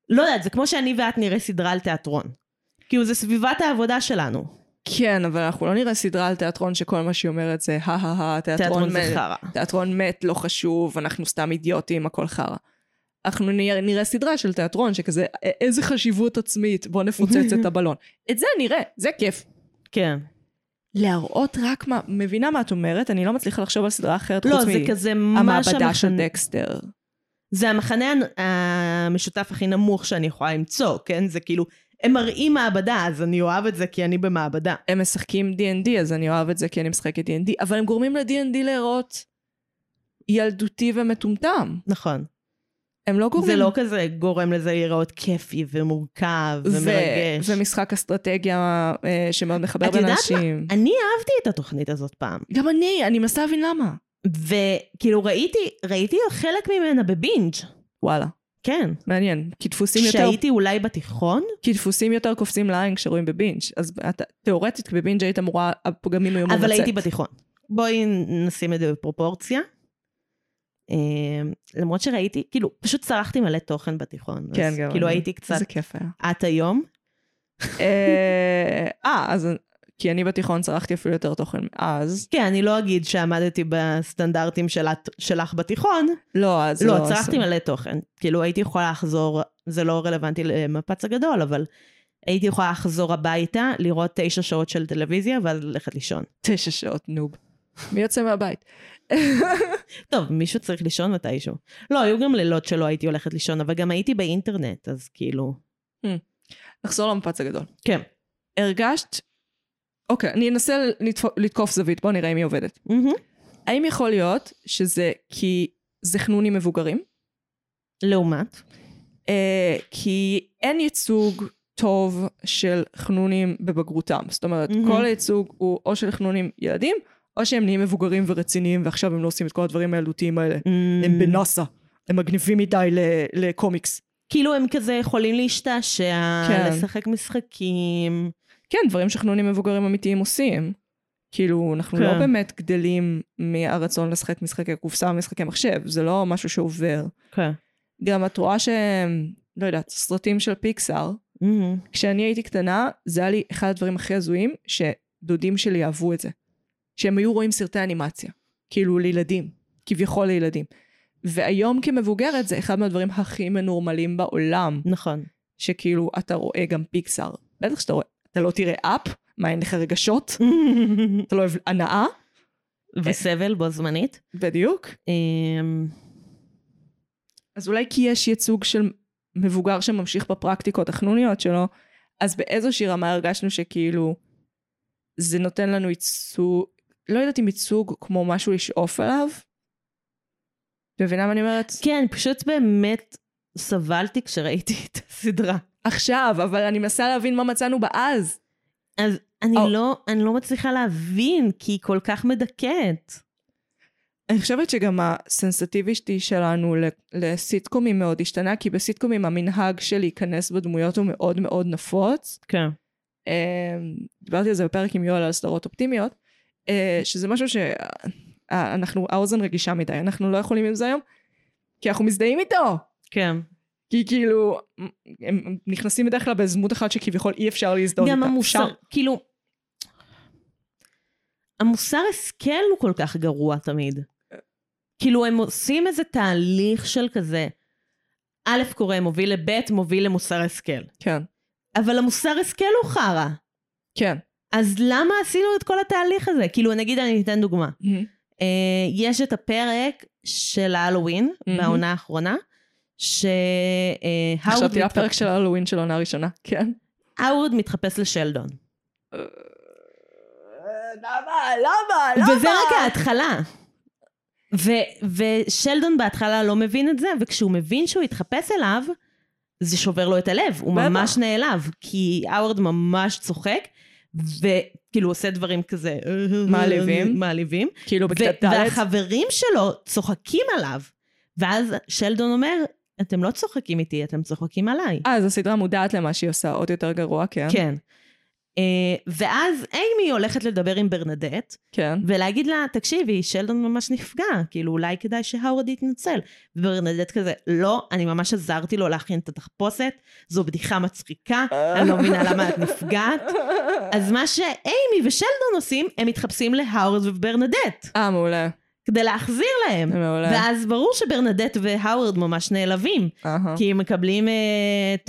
לא יודעת, זה כמו שאני ואת נראה סדרה על תיאטרון. כאילו זה סביבת העבודה שלנו. כן, אבל אנחנו לא נראה סדרה על תיאטרון שכל מה שהיא אומרת זה הא הא הא, תיאטרון תיאטרון זה מת. חרא. תיאטרון מת, לא חשוב, אנחנו סתם אידיוטים, הכל חרא. אנחנו נראה, נראה סדרה של תיאטרון שכזה, "א- איזה חשיבות עצמית, בוא נפוצץ את הבלון. את זה נראה, זה כיף. כן. להראות רק מה, מבינה מה את אומרת, אני לא מצליחה לחשוב על סדרה אחרת לא, חוץ זה כזה ממש המעבדה של המחנה- דקסטר. זה המחנה הנ- המשותף הכי נמוך שאני יכולה למצוא, כן? זה כאילו, הם מראים מעבדה, אז אני אוהב את זה כי אני במעבדה. הם משחקים D&D, אז אני אוהב את זה כי אני משחקת D&D, אבל הם גורמים ל-D&D להיראות ילדותי ומטומטם. נכון. הם לא גורמים... זה לא כזה גורם לזה להיראות כיפי ומורכב ומרגש. ו- ומשחק אסטרטגיה אה, שמאוד מחבר את בין יודעת מה? אנשים. אני אהבתי את התוכנית הזאת פעם, גם אני, אני מנסה להבין למה. וכאילו ראיתי, ראיתי חלק ממנה בבינג', וואלה, כן. מעניין. כי דפוסים יותר, כשהייתי אולי בתיכון, כי דפוסים יותר קופצים לעין כשרואים בבינג', אז אתה, תיאורטית בבינג' היית אמורה, הפגמים היו אבל ממצאת. הייתי בתיכון. בואי נשים את זה בפרופורציה. אמ, למרות שראיתי, כאילו, פשוט צרחתי מלא תוכן בתיכון. כן, אז גם כאילו אני. הייתי קצת איזה כיף היה. את היום. אה, אה, אז... כי אני בתיכון צרכתי אפילו יותר תוכן אז. כן, אני לא אגיד שעמדתי בסטנדרטים של את- שלך בתיכון, לא, אז לא, אז- צרכתי מלא תוכן. כאילו הייתי יכולה לחזור, זה לא רלוונטי למפץ הגדול, אבל הייתי יכולה לחזור הביתה, לראות תשע שעות של טלוויזיה, ואז ללכת לישון. תשע שעות נוב. מי יוצא מהבית? טוב, מישהו צריך לישון מתישהו. לא, היו גם לילות שלא הייתי הולכת לישון, אבל גם הייתי באינטרנט, אז כאילו... נחזור למפץ הגדול. כן. הרגשת... אוקיי, אני אנסה לתפ- לתקוף זווית, בואו נראה אם היא עובדת. מהמם. האם יכול להיות שזה כי זה חנונים מבוגרים? לעומת? אה, כי אין ייצוג טוב של חנונים בבגרותם. זאת אומרת, mm-hmm. מהמם. כל הייצוג הוא או של חנונים ילדים, או שהם נהיים מבוגרים ורציניים, ועכשיו הם לא עושים את כל הדברים הילדותיים האלה. הם בנאסא, הם מגניבים מדי ל- לקומיקס. כאילו הם כזה יכולים להשתעשע, כן. לשחק משחקים. כן, דברים שחנונים מבוגרים אמיתיים עושים. כאילו, אנחנו כן. כן. לא באמת גדלים מהרצון לשחק משחקי קופסה ומשחקי מחשב, זה לא משהו שעובר. כן. גם את רואה שהם, לא יודעת, סרטים של פיקסאר, מהמם. כשאני הייתי קטנה, זה היה לי אחד הדברים הכי הזויים, שדודים שלי אהבו את זה. שהם היו רואים סרטי אנימציה. כאילו לילדים. כביכול לילדים. והיום כמבוגרת זה אחד מהדברים הכי מנורמלים בעולם. נכון. שכאילו אתה רואה גם פיקסאר. בטח שאתה רואה, אתה לא תראה אפ, מה אין לך רגשות? אתה לא אוהב הנאה? וסבל בו זמנית. בדיוק. אמ, אז אולי כי יש ייצוג של מבוגר שממשיך בפרקטיקות החנוניות שלו, אז באיזושהי רמה הרגשנו שכאילו זה נותן לנו ייצוג, לא יודעת אם ייצוג כמו משהו לשאוף אליו. את מבינה מה אני אומרת? כן, פשוט באמת סבלתי כשראיתי את הסדרה. עכשיו, אבל אני מנסה להבין מה מצאנו באז. אז אני, או. לא, אני לא מצליחה להבין, כי היא כל כך מדכאת. אני חושבת שגם הסנסטיביסטי שלנו ל- לסיטקומים מאוד השתנה, כי בסיטקומים המנהג של להיכנס בדמויות הוא מאוד מאוד נפוץ. כן. אה, דיברתי על זה בפרק עם יואל על סדרות אופטימיות, אה, שזה משהו שאנחנו, האוזן רגישה מדי, אנחנו לא יכולים עם זה היום, כי אנחנו מזדהים איתו. כן. כי כאילו, הם- הם נכנסים בדרך כלל בזמות אחת שכביכול אי אפשר להזדהות איתה. גם המוסר, אפשר. כאילו... המוסר השכל הוא כל כך גרוע תמיד. כאילו, הם עושים איזה תהליך של כזה, א' קורא מוביל לב' מוביל למוסר השכל. כן, אבל המוסר השכל הוא חרא. כן. אז למה עשינו את כל התהליך הזה? כאילו, נגיד אני אתן דוגמה. אה, יש את הפרק של ההלואוין, מהמם. בעונה האחרונה, ש... אה, האוורד חשבתי על מתחפ- הפרק של הלואוין של העונה הראשונה, כן. האוורד מתחפש לשלדון. אה, למה? למה? וזה רק ההתחלה. ו- ושלדון בהתחלה לא מבין את זה, וכשהוא מבין שהוא התחפש אליו, זה שובר לו את הלב, הוא בטח. ממש נעלב, כי האוורד ממש צוחק, וכאילו עושה דברים כזה... מעליבים. מעליבים. כאילו ו- בכיתה ד' והחברים שלו צוחקים עליו, ואז שלדון אומר, אתם לא צוחקים איתי, אתם צוחקים עליי. אה, אז הסדרה מודעת למה שהיא עושה עוד יותר גרוע, כן? כן. אה, ואז אימי הולכת לדבר עם ברנדט, כן. ולהגיד לה, תקשיבי, שלדון ממש נפגע, כאילו אולי כדאי שהאוורד יתנצל. וברנדט כזה, לא, אני ממש עזרתי לו להכין את התחפושת, זו בדיחה מצחיקה, אני לא מבינה למה את נפגעת. אז מה שאימי ושלדון עושים, הם מתחפשים להאוורד וברנדט, אה, מעולה. כדי להחזיר להם. זה מעולה. ואז ברור שברנדט והאוורד ממש נעלבים, אהה. כי כן. הם מקבלים אה,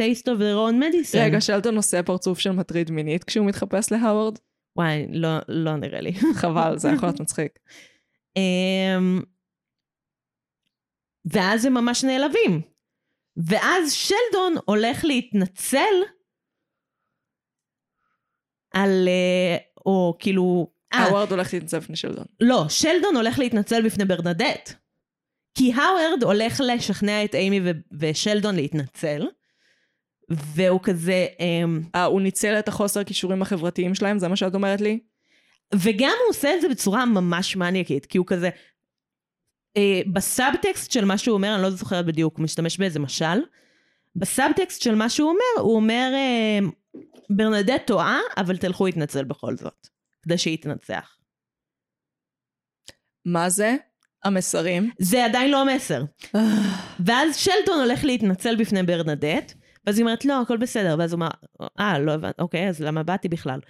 taste of their own medicine. רגע, שלטון עושה פרצוף של מטריד מינית כשהוא מתחפש להאוורד? וואי, לא, לא נראה לי. חבל, זה יכול להיות מצחיק. אמ, ואז הם ממש נעלבים. ואז שלדון הולך להתנצל על... אה, או כאילו... אה, האוורד הולך להתנצב לפני שלטון. לא, שלדון הולך להתנצל בפני ברנדט. כי האוורד הולך לשכנע את אימי ו- ושלדון להתנצל, והוא כזה... אמ, אה, הוא ניצל את החוסר כישורים החברתיים שלהם? זה מה שאת אומרת לי? וגם הוא עושה את זה בצורה ממש מניאקית, כי הוא כזה... אה, בסאבטקסט של מה שהוא אומר, אני לא זוכרת בדיוק, הוא משתמש באיזה משל. בסאבטקסט של מה שהוא אומר, הוא אומר, אה, ברנדט טועה, אבל תלכו להתנצל בכל זאת, כדי שהיא תנצח. מה זה? המסרים. זה עדיין לא המסר. ואז שלטון הולך להתנצל בפני ברנדט, ואז היא אומרת, לא, הכל בסדר. ואז הוא אמר, אה, לא הבנתי, אוקיי, אז למה באתי בכלל?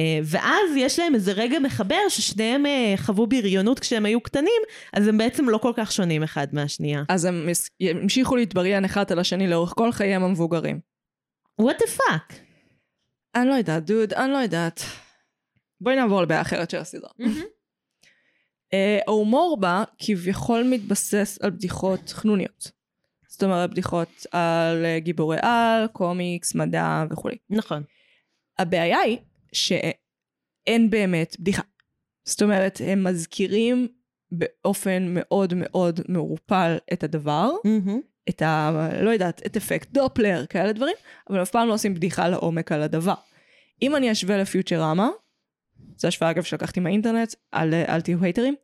אה, ואז יש להם איזה רגע מחבר ששניהם אה, חוו בריונות כשהם היו קטנים, אז הם בעצם לא כל כך שונים אחד מהשנייה. אז הם מס- המשיכו להתבריין אחד על השני לאורך כל חייהם המבוגרים. וואט דה פאק. אני לא יודעת, דוד, אני לא יודעת. בואי נעבור לבעיה אחרת של הסדרה. אה, ההומור בה כביכול מתבסס על בדיחות חנוניות. זאת אומרת, בדיחות על אה, גיבורי על, קומיקס, מדע וכולי. נכון. הבעיה היא שאין באמת בדיחה. זאת אומרת, הם מזכירים באופן מאוד מאוד מעורפל את הדבר, את ה... לא יודעת, את אפקט דופלר, כאלה דברים, אבל אף פעם לא עושים בדיחה לעומק על הדבר. אם אני אשווה לפיוטרמה, זו השוואה אגב שלקחתי מהאינטרנט, אל, אל תהיו הייטרים,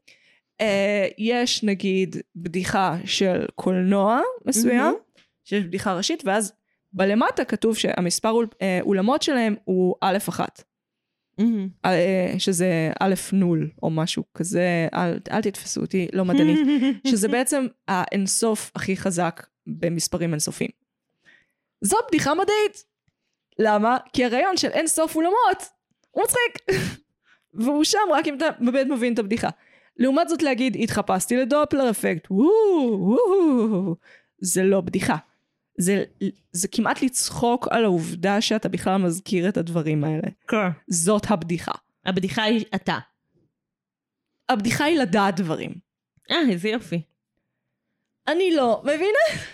אה, יש נגיד בדיחה של קולנוע מסוים, שיש בדיחה ראשית, ואז בלמטה כתוב שהמספר אול, אה, אולמות שלהם הוא א' אחת. מהמם. אה, אה, שזה א' נול או משהו כזה, אל, אל תתפסו אותי, לא מדענית, שזה בעצם האינסוף הכי חזק במספרים אינסופיים. זו בדיחה מדעית. למה? כי הרעיון של אינסוף אולמות הוא מצחיק. והוא שם רק אם אתה באמת מבין את הבדיחה. לעומת זאת להגיד, התחפשתי לדופלר אפקט, וואו, וואו, זה לא בדיחה. זה, זה כמעט לצחוק על העובדה שאתה בכלל מזכיר את הדברים האלה. כן. זאת הבדיחה. הבדיחה היא אתה. הבדיחה היא לדעת דברים. אה, איזה יופי. אני לא מבינה.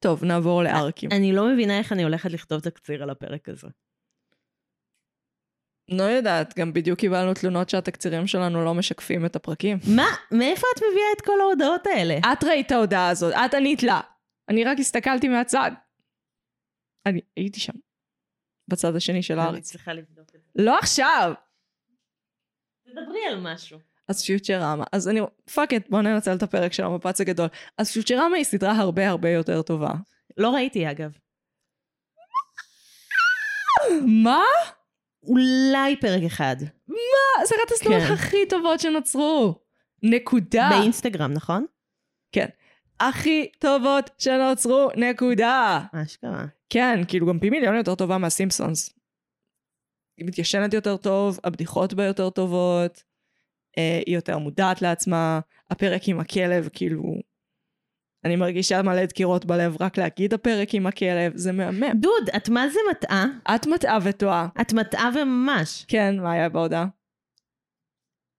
טוב, נעבור לארקים. אני לא מבינה איך אני הולכת לכתוב תקציר על הפרק הזה. לא יודעת, גם בדיוק קיבלנו תלונות שהתקצירים שלנו לא משקפים את הפרקים. מה? מאיפה את מביאה את כל ההודעות האלה? אה, את ראית את ההודעה הזאת, את ענית לה. אני רק הסתכלתי מהצד. אני הייתי שם. בצד השני של לא, אני הארץ. צריכה לבדוק את זה. לא עכשיו! תדברי על משהו. אז פיוטרמה. אז אני... פאק את, בוא ננצל את הפרק של המפץ הגדול. אז פיוטרמה היא סדרה הרבה הרבה יותר טובה. לא ראיתי אגב. מה? אולי פרק אחד. זה אחת הסדרות כן. הכי טובות שנוצרו. נקודה. באינסטגרם, נכון? כן. הכי טובות שנוצרו, נקודה. אשכרה. כן, כאילו גם פי מיליון יותר טובה מהסימפסונס. היא מתיישנת יותר טוב, הבדיחות בה יותר טובות, אה, היא יותר מודעת לעצמה, הפרק עם הכלב, כאילו... אני מרגישה מלא דקירות בלב רק להגיד הפרק עם הכלב, זה מהמם. דוד, את מה זה מטעה? את מטעה וטועה. את מטעה וממש. כן, מה היה בהודעה?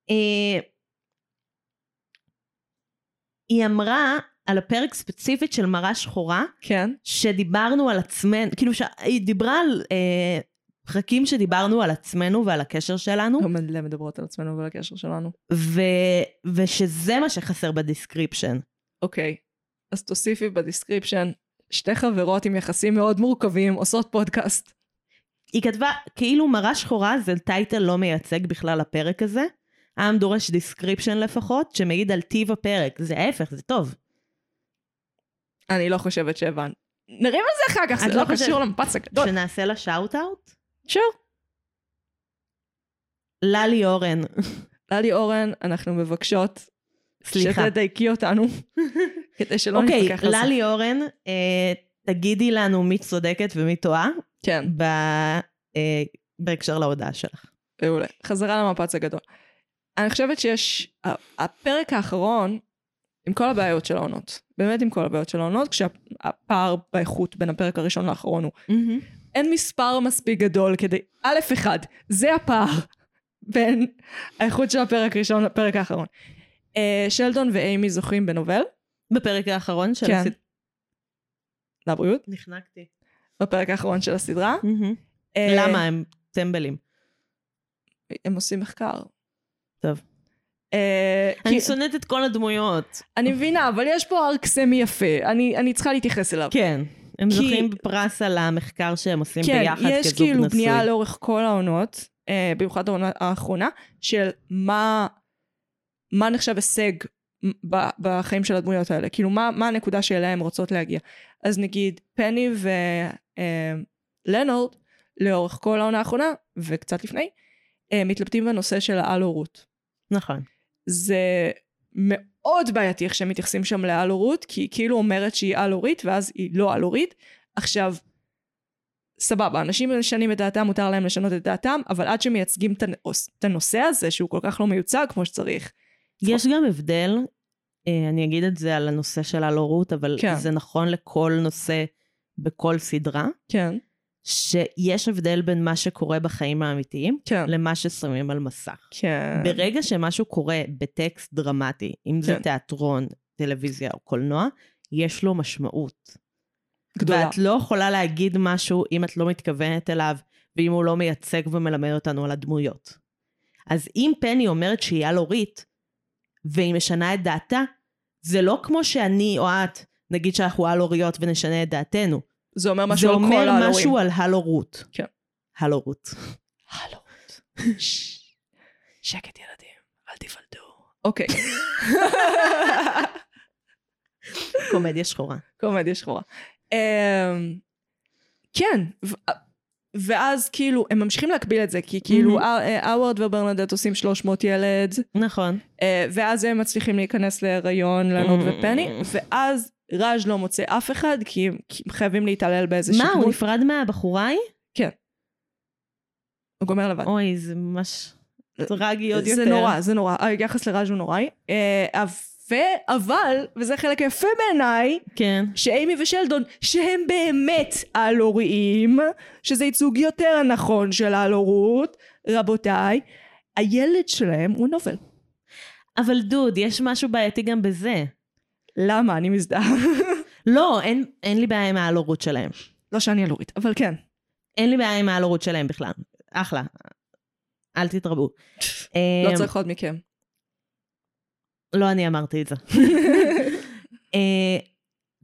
אה, היא אמרה על הפרק ספציפית של מראה שחורה, כן. שדיברנו על עצמנו, כאילו ש- היא דיברה על אה, פרקים שדיברנו על עצמנו ועל הקשר שלנו, אנחנו לא מלא מדברות על עצמנו ועל הקשר שלנו. ו, ושזה מה שחסר בדיסקריפשן. אוקיי, אז תוסיפי בדיסקריפשן, שתי חברות עם יחסים מאוד מורכבים עושות פודקאסט. היא כתבה, כאילו מראה שחורה זה טייטל לא מייצג בכלל לפרק הזה. העם דורש דיסקריפשן לפחות, שמעיד על טיב הפרק. זה ההפך, זה טוב. אני לא חושבת שהבנת. נרים על זה אחר כך, את זה לא לא חושבת- קשור למפץ הגדול. שנעשה לה שאוט-אאוט? שור. ללי אורן. ללי אורן, אנחנו מבקשות סליחה. שתדייקי אותנו, כדי שלא אוקיי, נתווכח על זה. ללי אורן, אה, תגידי לנו מי צודקת ומי טועה כן, ב, אה, בהקשר להודעה שלך. מעולה. חזרה למפץ הגדול. אני חושבת שיש, ה- הפרק האחרון, עם כל הבעיות של העונות, באמת עם כל הבעיות של העונות, כשהפער באיכות בין הפרק הראשון לאחרון הוא אין מספר מספיק גדול כדי... א' אחד, זה הפער בין האיכות של הפרק הראשון לפרק האחרון. אה, שלדון ואימי זוכים בנובל, בפרק האחרון של כן. הסד- לבריאות, נחנקתי. בפרק האחרון של הסדרה. אה, למה הם טמבלים? הם עושים מחקר. טוב. אה, אני כי- שונאת את כל הדמויות. אני מבינה, אבל יש פה ארק סמי יפה, אני אני צריכה להתייחס אליו. כן. הם כי- זוכים בפרס על המחקר שהם עושים כן, ביחד כזוג נשוי. יש כאילו בנייה לאורך כל העונות, אה, במיוחד העונה האחרונה, של מה, מה נחשב הישג ב, בחיים של הדמויות האלה. כאילו, מה, מה הנקודה שאליה הן רוצות להגיע. אז נגיד, פני ולנורד, לאורך כל העונה האחרונה, וקצת לפני, אה, מתלבטים בנושא של העל-הורות. נכון. זה מאוד בעייתי איך שהם מתייחסים שם לעל-הורות, כי היא כאילו אומרת שהיא על-הורית, ואז היא לא על-הורית. עכשיו, סבבה, אנשים משנים את דעתם, מותר להם לשנות את דעתם, אבל עד שמייצגים את הנוס- את הנושא הזה, שהוא כל כך לא מיוצג כמו שצריך. נכון. יש גם הבדל, אה, אני אגיד את זה על הנושא של הלורות, אבל כן. זה נכון לכל נושא בכל סדרה, כן, שיש הבדל בין מה שקורה בחיים האמיתיים כן. למה ששמים על מסך. כן. ברגע שמשהו קורה בטקסט דרמטי, אם זה כן. תיאטרון, טלוויזיה או קולנוע, יש לו משמעות. גדולה. ואת לא יכולה להגיד משהו אם את לא מתכוונת אליו, ואם הוא לא מייצג ומלמד אותנו על הדמויות. אז אם פני אומרת שהיא על-הורית, והיא משנה את דעתה, זה לא כמו שאני או את נגיד שאנחנו על-הוריות ונשנה את דעתנו. זה אומר זה משהו על כל אומר ההורים. משהו על הלורות. כן. הלורות. הלורות. ש- שקט ילדים, אל תיוולדו. אוקיי, קומדיה שחורה. קומדיה שחורה. אמ, כן, ו- ואז כאילו, הם ממשיכים להקביל את זה, כי כאילו, Mhm. אה, אה, האוורד וברנדט עושים 300 ילד, נכון. אה, ואז הם מצליחים להיכנס להיריון, לנות Mm. ופני, ואז ראז' לא מוצא אף אחד, כי הם כי הם חייבים להתעלל באיזה מה, הוא שדמות. נפרד מהבחורה ההיא? הוא גומר לבד. אוי, זה ממש טרגי עוד יותר. זה נורא, זה נורא. היחס לראז' הוא נוראי. אה, אבל- אבל, וזה החלק היפה בעיניי, כן. שאימי ושלדון, שהם באמת על-הוריים, שזה ייצוג יותר נכון של על-הורות, רבותיי, הילד שלהם הוא נובל. אבל דוד, יש משהו בעייתי גם בזה. למה? אני מזדהה. לא, אין, אין לי בעיה עם ההלורות שלהם. לא שאני על-הורית, אבל כן. אין לי בעיה עם ההלורות שלהם בכלל. אחלה. אל תתרבו. לא אמ, צריך עוד מכם. לא אני אמרתי את זה. אה,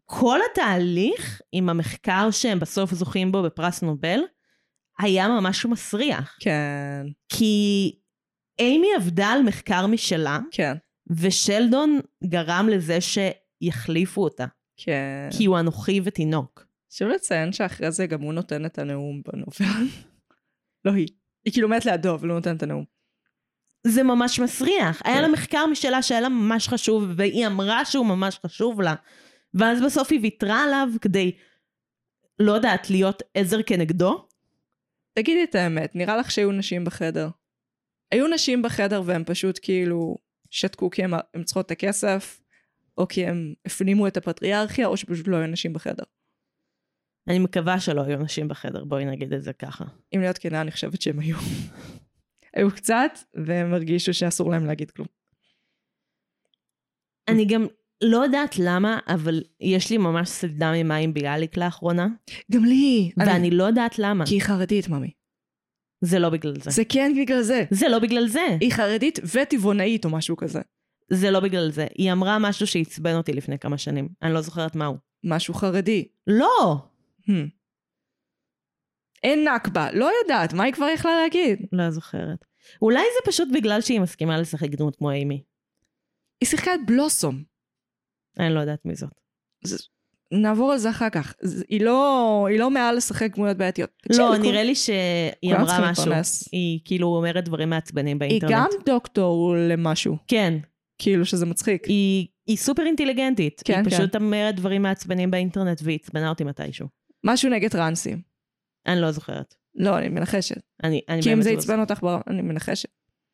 כל התהליך עם המחקר שהם בסוף זוכים בו בפרס נובל, היה ממש מסריח. כן, כי אימי עבדה על מחקר משלה, כן, ושלדון גרם לזה שיחליפו אותה. כן. כי הוא אנוכי ותינוק. חשוב לציין שאחרי זה גם הוא נותן את הנאום בנובל. לא היא. היא כאילו מת לידו, אבל הוא נותן את הנאום. זה ממש מסריח. כן. היה לה מחקר משלה שהיה לה ממש חשוב, והיא אמרה שהוא ממש חשוב לה. ואז בסוף היא ויתרה עליו כדי, לא יודעת, להיות עזר כנגדו. תגידי את האמת, נראה לך שהיו נשים בחדר. היו נשים בחדר והן פשוט כאילו שתקו כי הן הן צריכות את הכסף, או כי הן הפנימו את הפטריארכיה, או שפשוט לא היו נשים בחדר. אני מקווה שלא היו נשים בחדר, בואי נגיד את זה ככה. אם להיות כנה, אני חושבת שהן היו. היו קצת, והם הרגישו שאסור להם להגיד כלום. אני גם לא יודעת למה, אבל יש לי ממש סלדה ממים ביאליק לאחרונה, גם לי! ואני לא יודעת למה. כי היא חרדית, ממי. זה לא בגלל זה. זה כן בגלל זה. זה לא בגלל זה. היא חרדית וטבעונאית או משהו כזה. זה לא בגלל זה. היא אמרה משהו שעצבן אותי לפני כמה שנים. אני לא זוכרת מהו. משהו חרדי. לא! Hmm. אין נכבה, לא יודעת, מה היא כבר יכלה להגיד? לא זוכרת. אולי זה פשוט בגלל שהיא מסכימה לשחק דמות כמו אימי. היא שיחקה את בלוסום. אני לא יודעת מי זאת. נעבור על זה אחר כך. ז- היא לא, היא לא מעל לשחק דמויות בעייתיות. תקשיב, לא, לכל- נראה לי שהיא כן, נכון. כולם אמרה צריכים משהו. להתפרנס. היא כאילו אומרת דברים מעצבנים היא באינטרנט. גם דוקטור למשהו, כן. כאילו שזה מצחיק. היא, היא סופר אינטליגנטית. כן, היא כן. פשוט אומרת דברים מעצבנים באינטרנט והיא עצבנה אותי מתישהו. משהו נגד טרנסים. אני לא זוכרת. לא, אני מנחשת. אני, אני כי אם באמת זה לא עצבן זוכרת. אותך, בר- אני מנחשת.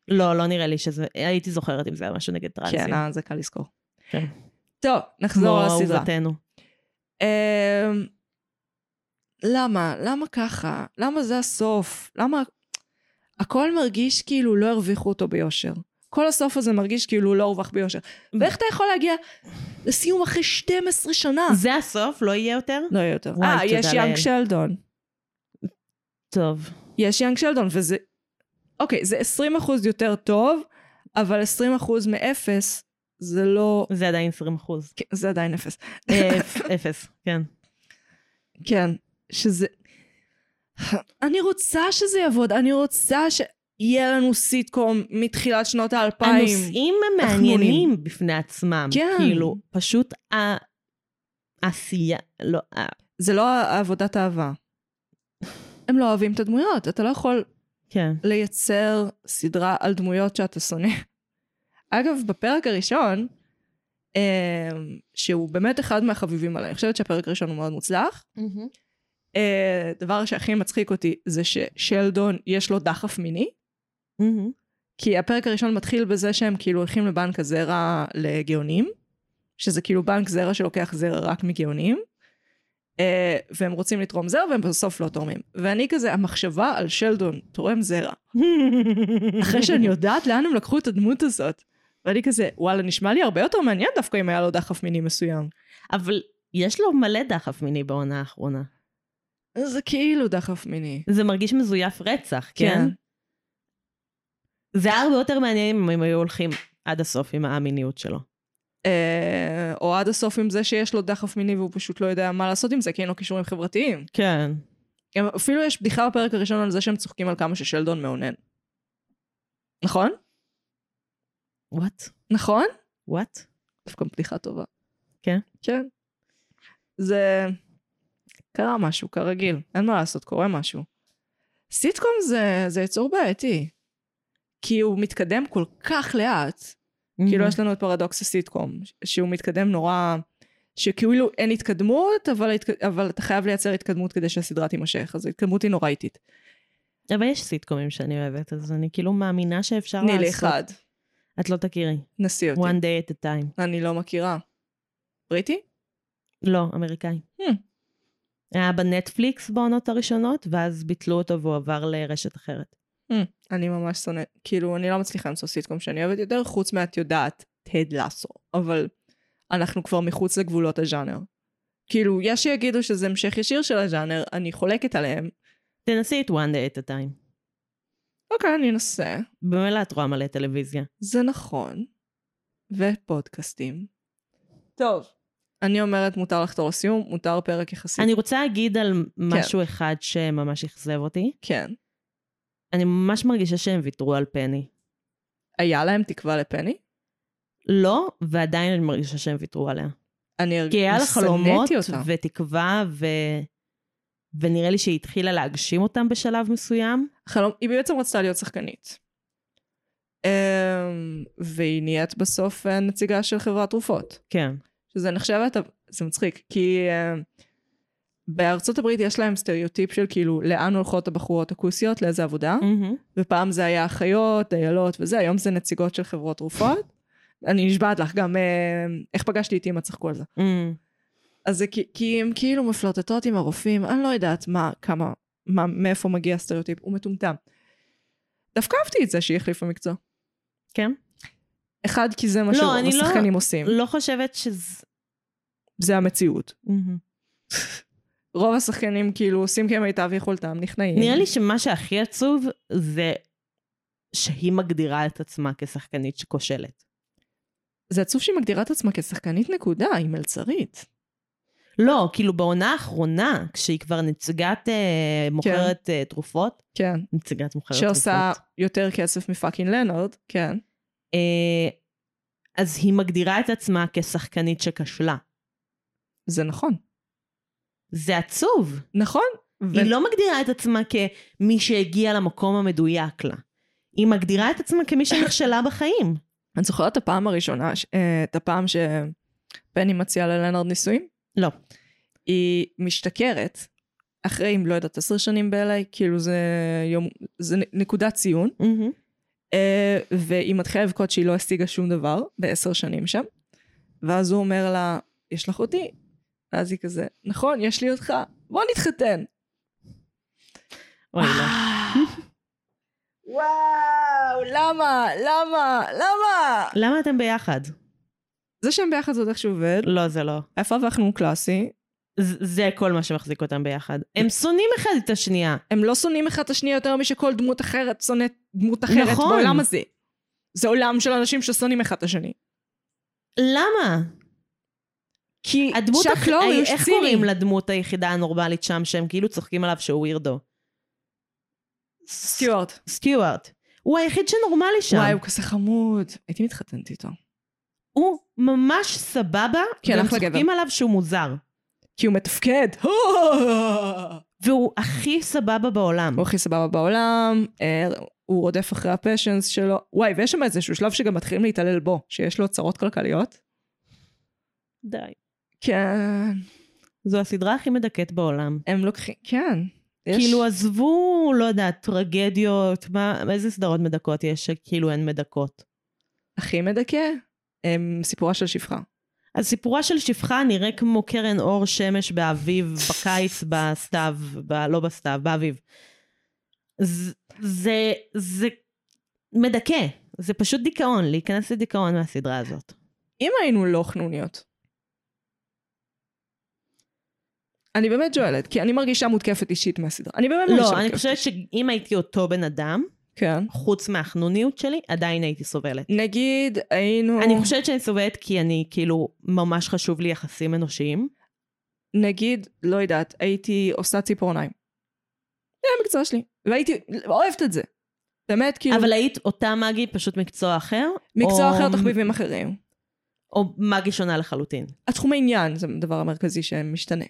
לא, לא נראה לי שזה... הייתי זוכרת אם זה היה משהו נגד טרנסים. כן, אה, זה קל לזכור. כן. טוב, נחזור כמו לסדרה. אהובתנו. אמ, למה? למה ככה? למה זה הסוף? למה... הכל מרגיש כאילו לא הרוויחו אותו ביושר. כל הסוף הזה מרגיש כאילו הוא לא הורווח ביושר. ואיך אתה יכול להגיע לסיום אחרי 12 שנה? זה הסוף, לא יהיה יותר? אה. לא יהיה יותר. וואי, אה, תודה יש יאנג לאל. שלדון. טוב. יש יאנג שלדון, וזה... אוקיי, זה 20% יותר טוב, אבל 20% מאפס זה לא... זה עדיין 20 אחוז. אה, כן, זה עדיין אפס. אפס, כן. כן, שזה... אני רוצה שזה יעבוד, אני רוצה שיהיה לנו סיטקום מתחילת שנות האלפיים. הנושאים הם מעניינים בפני עצמם. כן. כאילו, פשוט ה- העשייה, לא, ה- זה לא עבודת אהבה. הם לא אוהבים את הדמויות, אתה לא יכול כן. לייצר סדרה על דמויות שאתה שונא. אגב, בפרק הראשון, אמ, שהוא באמת אחד מהחביבים עליי, אני חושבת שהפרק הראשון הוא מאוד מוצלח. אה, דבר שהכי מצחיק אותי זה ששלדון יש לו דחף מיני. מהמם. כי הפרק הראשון מתחיל בזה שהם כאילו הולכים לבנק הזרע לגאונים, שזה כאילו בנק זרע שלוקח זרע רק מגאונים, אה, והם רוצים לתרום זרע והם בסוף לא תורמים. ואני כזה, המחשבה על שלדון תורם זרע, אחרי שאני יודעת לאן הם לקחו את הדמות הזאת. ואני כזה, וואלה, נשמע לי הרבה יותר מעניין דווקא אם היה לו דחף מיני מסוים. אבל יש לו מלא דחף מיני בעונה האחרונה. זה כאילו דחף מיני. זה מרגיש מזויף רצח, כן? זה היה הרבה יותר מעניין אם הם היו הולכים עד הסוף עם המיניות שלו. אה, או עד הסוף עם זה שיש לו דחף מיני והוא פשוט לא יודע מה לעשות עם זה, כי אין לו כישורים חברתיים. כן. גם אפילו יש בדיחה בפרק הראשון על זה שהם צוחקים על כמה ששלדון מאונן. נכון? וואט? נכון? וואט? דווקא בדיחה טובה. כן? כן. זה... קרה משהו, כרגיל. אין מה לעשות, קורה משהו. סיטקום זה, זה יצור בעייתי. כי הוא מתקדם כל כך לאט. Mm-hmm. כאילו יש לנו את פרדוקס הסיטקום, ש- שהוא מתקדם נורא, שכאילו אין התקדמות, אבל, ההתק- אבל אתה חייב לייצר התקדמות כדי שהסדרה תימשך, אז ההתקדמות היא נורא איטית. אבל יש סיטקומים שאני אוהבת, אז אני כאילו מאמינה שאפשר לעשות. תני לי אחד, את לא תכירי. נשיא אותי. One day at a time. אני לא מכירה. בריטי? לא, אמריקאי. Hmm. היה בנטפליקס בעונות הראשונות, ואז ביטלו אותו והוא עבר לרשת אחרת. אני ממש שונאת, כאילו, אני לא מצליחה למצוא סיטקום שאני אוהבת יותר, חוץ מאת יודעת, תד לסו. אבל אנחנו כבר מחוץ לגבולות הז'אנר. כאילו, יש שיגידו שזה המשך ישיר של הז'אנר, אני חולקת עליהם. תנסי את one day at a time. אוקיי, אני אנסה. במילא את רואה מלא טלוויזיה. זה נכון. ופודקאסטים. טוב. אני אומרת, מותר לחתור לסיום, מותר פרק יחסית. אני רוצה להגיד על משהו אחד שממש אכזב אותי. כן. אני ממש מרגישה שהם ויתרו על פני. היה להם תקווה לפני? לא, ועדיין אני מרגישה שהם ויתרו עליה. אני הרגשתי, כי היה לה חלומות אותה. ותקווה, ו... ונראה לי שהיא התחילה להגשים אותם בשלב מסוים. חלום, היא בעצם רצתה להיות שחקנית. אמ, והיא נהיית בסוף אה, נציגה של חברת תרופות. כן. שזה נחשבת, זה מצחיק, כי אמ, בארצות הברית יש להם סטריאוטיפ של כאילו לאן הולכות הבחורות הכוסיות, לאיזה עבודה, מהמם. ופעם זה היה אחיות, דיילות וזה, היום זה נציגות של חברות תרופות. אני נשבעת לך, גם אמ, איך פגשתי את אמא, צחקו על זה. מהמם. אז זה כי, כי הם כאילו מפלרטטות עם הרופאים, אני לא יודעת מה, כמה, מה, מאיפה מגיע הסטריאוטיפ, הוא מטומטם. דווקא אהבתי את זה שהיא החליפה מקצוע. כן? אחד, כי זה מה לא, שרוב אני לא- השחקנים עושים. לא חושבת שזה... זה המציאות. מהמם. רוב השחקנים כאילו עושים כמיטב יכולתם, נכנעים. נראה לי שמה שהכי עצוב זה שהיא מגדירה את עצמה כשחקנית שכושלת. זה עצוב שהיא מגדירה את עצמה כשחקנית נקודה, היא מלצרית. לא, כאילו בעונה האחרונה, כשהיא כבר נציגת אה, מוכרת אה, תרופות, כן. נציגת מוכרת שעושה תרופות, יותר כסף מפאקינג לנארד, כן. אה, אז היא מגדירה את עצמה כשחקנית שכשלה. זה נכון. זה עצוב. נכון. ו- היא לא מגדירה את עצמה כמי שהגיעה למקום המדויק לה. היא מגדירה את עצמה כמי שנכשלה בחיים. אני זוכרת את הפעם הראשונה, ש- אה, את הפעם שבני מציעה ללנארד נישואים? לא. היא משתכרת, אחרי, אם לא יודעת, עשר שנים ב-LA, כאילו זה יום, זה נ- נקודת ציון, אה, והיא מתחילה לבכות שהיא לא השיגה שום דבר בעשר שנים שם, ואז הוא אומר לה, יש לך אותי? ואז היא כזה, נכון, יש לי אותך, בוא נתחתן. אוי, לא. וואו, "אה, למה? למה? למה? למה אתם ביחד? זה שהם ביחד זה עוד איך שהוא עובד. לא, זה לא. איפה ואנחנו הוא קלאסי. ז- זה כל מה שמחזיק אותם ביחד. הם שונאים אחד את השנייה. הם לא שונאים אחד את השני יותר משכל דמות אחרת שונאת דמות אחרת נכון. בעולם הזה. זה עולם של אנשים ששונאים אחד את השני. למה? אה, כי לא הדמות צ'אק הכי- לורי הוא איך ציני. קוראים לדמות היחידה הנורמלית שם, שהם כאילו צוחקים עליו שהוא ווירדו? סטיוארט. סטיוארט. הוא היחיד שנורמלי שם. וואי, הוא כזה חמוד. הייתי מתחתנת איתו. הוא ממש סבבה, כן, והם אחלה גבר. צוחקים עליו שהוא מוזר. כי הוא מתפקד. והוא הכי סבבה בעולם. הוא הכי סבבה בעולם, אה, הוא רודף אחרי הפשנס שלו. וואי, ויש שם איזשהו שלב שגם מתחילים להתעלל בו, שיש לו צרות כלכליות. די. כן. זו הסדרה הכי מדכאת בעולם. הם לוקחים, כן. יש- כאילו עזבו, לא יודעת, טרגדיות, מה, איזה סדרות מדכאות יש שכאילו הן מדכאות. הכי מדכא, הם סיפורה של שפחה. אז סיפורה של שפחה נראה כמו קרן אור שמש באביב, בקיץ, בסתיו, ב, לא בסתיו, באביב. ז, זה, זה מדכא, זה פשוט דיכאון, להיכנס לדיכאון מהסדרה הזאת. אם היינו לא חנוניות. אני באמת שואלת, כי אני מרגישה מותקפת אישית מהסדרה. אני באמת מרגישה לא, אני מותקפת. חושבת שאם הייתי אותו בן אדם, כן. חוץ מהחנוניות שלי, עדיין הייתי סובלת. נגיד, היינו... אני חושבת שאני סובלת כי אני, כאילו, ממש חשוב לי יחסים אנושיים. נגיד, לא יודעת, הייתי עושה ציפורניים. זה המקצוע שלי. והייתי אוהבת את זה. באמת, כאילו, אבל היית אותה מגי פשוט מקצוע אחר? מקצוע או- אחר, תחביבים אחרים. או מגי שונה לחלוטין. התחום העניין זה הדבר המרכזי שמשתנה.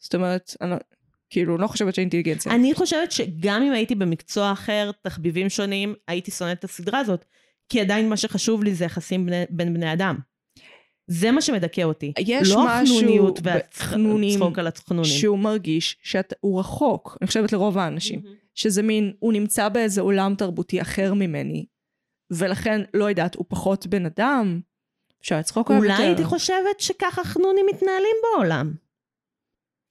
זאת אומרת, אני לא, כאילו, לא חושבת שאינטליגנציה. אני חושבת שגם אם הייתי במקצוע אחר, תחביבים שונים, הייתי שונאת את הסדרה הזאת, כי עדיין מה שחשוב לי זה יחסים בני, בין בני אדם. זה מה שמדכא אותי. יש לא משהו החנוניות בחנונים והצחוק על הצחנונים. שהוא מרגיש שהוא רחוק, אני חושבת לרוב האנשים, שזה מין, הוא נמצא באיזה עולם תרבותי אחר ממני, ולכן, לא יודעת, הוא פחות בן אדם, אפשר לצחוק עליו אולי יותר. הייתי חושבת שככה חנונים מתנהלים בעולם.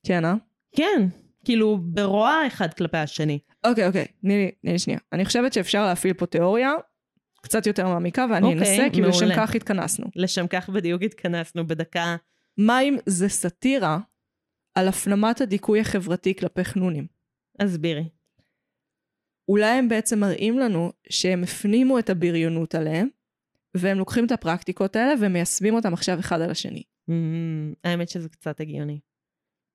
כן, אה? כן, כאילו ברוע אחד כלפי השני. אוקיי, אוקיי, תני לי- תני לי שנייה. אני חושבת שאפשר להפעיל פה תיאוריה קצת יותר מעמיקה, ואני אוקיי, אנסה, כי לשם מעולה. כך התכנסנו. לשם כך בדיוק התכנסנו בדקה. מה אם זה סאטירה על הפנמת הדיכוי החברתי כלפי חנונים? הסבירי. אולי הם בעצם מראים לנו שהם הפנימו את הבריונות עליהם, והם לוקחים את הפרקטיקות האלה ומיישמים אותם עכשיו אחד על השני. אמ, האמת שזה קצת הגיוני.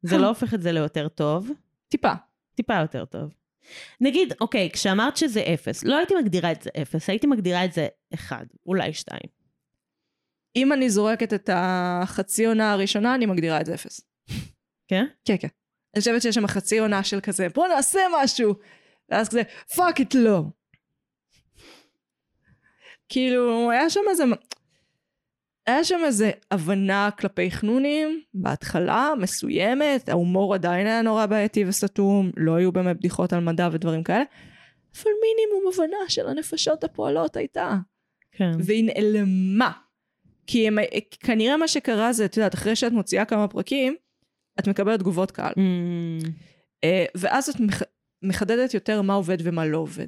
זה לא הופך את זה ליותר טוב, טיפה. טיפה יותר טוב. נגיד, אוקיי, כשאמרת שזה אפס, לא הייתי מגדירה את זה אפס, הייתי מגדירה את זה אחד, אולי שתיים. אם אני זורקת את החצי עונה הראשונה, אני מגדירה את זה אפס. כן? כן, כן. אני חושבת שיש שם חצי עונה של כזה, בוא נעשה משהו! ואז כזה, פאק איט לא. כאילו, היה שם איזה... היה שם איזה הבנה כלפי חנונים, בהתחלה, מסוימת, ההומור עדיין היה נורא בעייתי וסתום, לא היו באמת בדיחות על מדע ודברים כאלה, אבל מינימום הבנה של הנפשות הפועלות הייתה. כן. והיא נעלמה. כי הם, כנראה מה שקרה זה, את יודעת, אחרי שאת מוציאה כמה פרקים, את מקבלת תגובות קהל. אמ, אה, ואז את מח- מחדדת יותר מה עובד ומה לא עובד.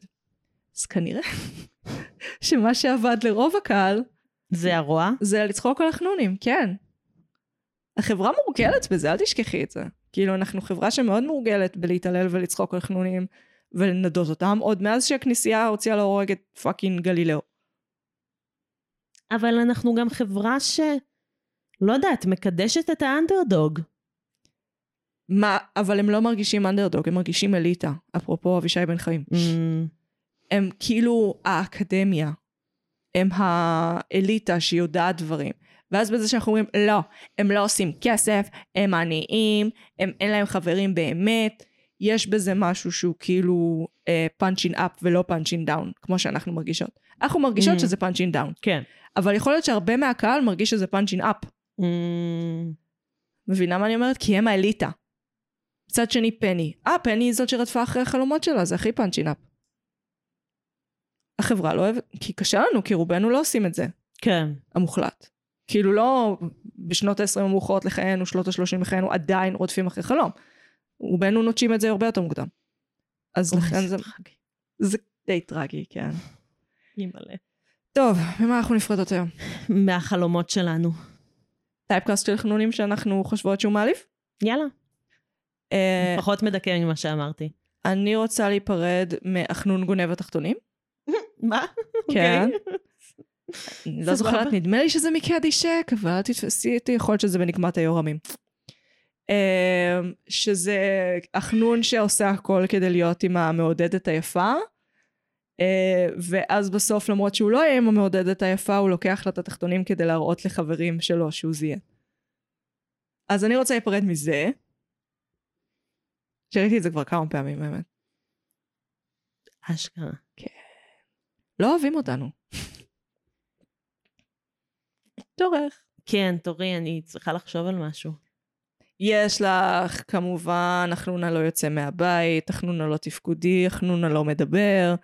אז כנראה שמה שעבד לרוב הקהל זה הרוע. זה לצחוק על החנונים, כן. החברה מורגלת בזה, אל תשכחי את זה. כאילו, אנחנו חברה שמאוד מורגלת בלהתעלל ולצחוק על חנונים ולנדות אותם, עוד מאז שהכנסייה הוציאה להורג את פאקינג גלילאו. אבל אנחנו גם חברה ש... לא יודעת, מקדשת את האנדרדוג. מה, אבל הם לא מרגישים אנדרדוג, הם מרגישים אליטה, אפרופו אבישי בן חיים. הם כאילו האקדמיה, הם האליטה שיודעת דברים. ואז בזה שאנחנו אומרים, לא, הם לא עושים כסף, הם עניים, הם אין להם חברים באמת, יש בזה משהו שהוא כאילו פאנצ'ין אפ ולא פאנצ'ין דאון, כמו שאנחנו מרגישות. אנחנו מרגישות Mm. שזה פאנצ'ין דאון, כן. אבל יכול להיות שהרבה מהקהל מרגיש שזה פאנצ'ין אפ. Mm, מבינה מה אני אומרת? כי הם האליטה. מצד שני פני. אה, פני היא זאת שרדפה אחרי החלומות שלה, זה הכי פאנצ'ינאפ. החברה לא אוהבת, כי קשה לנו, כי רובנו לא עושים את זה, כן. המוחלט. כאילו לא בשנות ה-20 המאוחרות לחיינו, שנות ה-30 לחיינו, עדיין רודפים אחרי חלום. רובנו נוטשים את זה הרבה יותר מוקדם. אז אוי, לכן זה, טרגי. זה די טרגי, כן. אימא'לה. טוב, ממה אנחנו נפרדות היום? מהחלומות שלנו. טייפקאסט של חנונים שאנחנו חושבות שהוא מעליף? יאללה. אה, פחות מדכא ממה שאמרתי. אני רוצה להיפרד מאחנון גונב התחתונים. מה? כן. אני לא סבבה. זוכרת, נדמה לי שזה מקאדי שק, אבל אל תתפסי אותי, יכול להיות שזה בנקמת היורמים. אמ, שזה החנון שעושה הכל כדי להיות עם המעודדת היפה, אה, ואז בסוף, למרות שהוא לא יהיה עם המעודדת היפה, הוא לוקח לה את התחתונים כדי להראות לחברים שלו שהוא זיהה. אז אני רוצה להיפרד מזה, שראיתי את זה כבר כמה פעמים, האמת. אשכרה. לא אוהבים אותנו. תורך. כן, תורי, אני צריכה לחשוב על משהו. יש לך כמובן, החנונה לא יוצא מהבית, החנונה לא תפקודי, החנונה לא מדבר,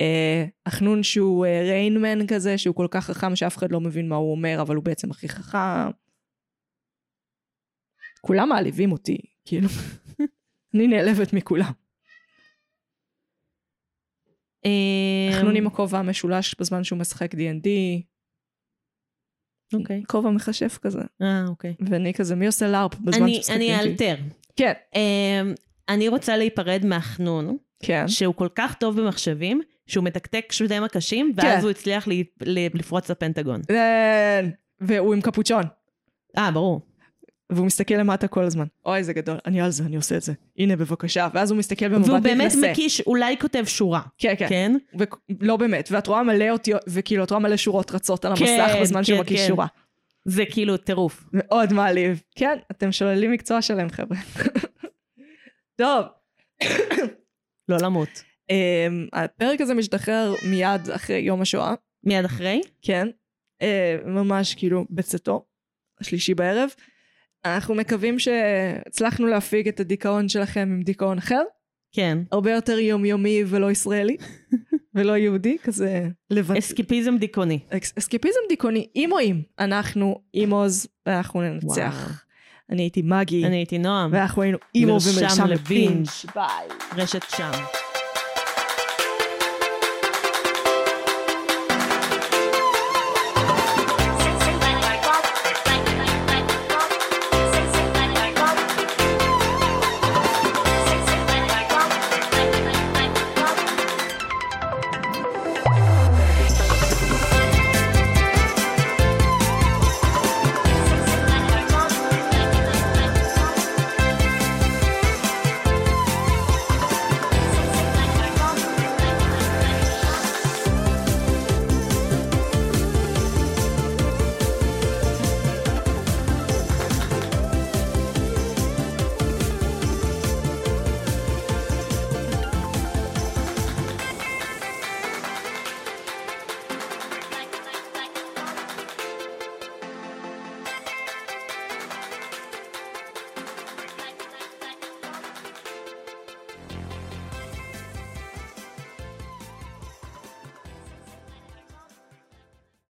אה, החנון שהוא אה, ריינמן כזה, שהוא כל כך חכם שאף אחד לא מבין מה הוא אומר, אבל הוא בעצם הכי חכם. כולם מעליבים אותי, כאילו. אני נעלבת מכולם. אה, החנון עם הכובע המשולש בזמן שהוא משחק D&D, אוקיי. כובע מכשף כזה. אה, אוקיי. ואני כזה, מי עושה לארפ בזמן אני- שהוא משחק D&D? אני אאלתר. כן, אה, אני רוצה להיפרד מהחנון, כן. שהוא כל כך טוב במחשבים, שהוא מתקתק שדים הקשים, ואז כן. הוא הצליח ל- ל- לפרוץ לפנטגון. כן. והוא עם קפוצ'ון. אה, ברור. והוא מסתכל למטה כל הזמן. אוי, זה גדול, אני על זה, אני עושה את זה. הנה, בבקשה. ואז הוא מסתכל במבט מתנשא. והוא באמת מקיש, אולי כותב שורה. כן, כן. כן? ו- לא באמת. ואת רואה מלא אותיות, וכאילו, את רואה מלא שורות רצות על המסך כן, בזמן שהוא כן, מקיש כן. שורה. זה כאילו טירוף. מאוד מעליב. כן, אתם שוללים מקצוע שלם, חבר'ה. טוב, לא למות. אמ, הפרק הזה משתחרר מיד אחרי יום השואה, מיד אחרי? כן? אה, ממש כאילו בצאתו, השלישי בערב. אנחנו מקווים שהצלחנו להפיג את הדיכאון שלכם עם דיכאון אחר. כן. הרבה יותר יומיומי ולא ישראלי, ולא יהודי, כזה לבד. אסקיפיזם דיכאוני. אס- אסקיפיזם דיכאוני, אימואים. אנחנו אימוז, ואנחנו ננצח. אני הייתי מגי, אני הייתי נועם, ואנחנו היינו אימו מרשם ומרשם לבינג'. לבינג'. ביי. רשת שם.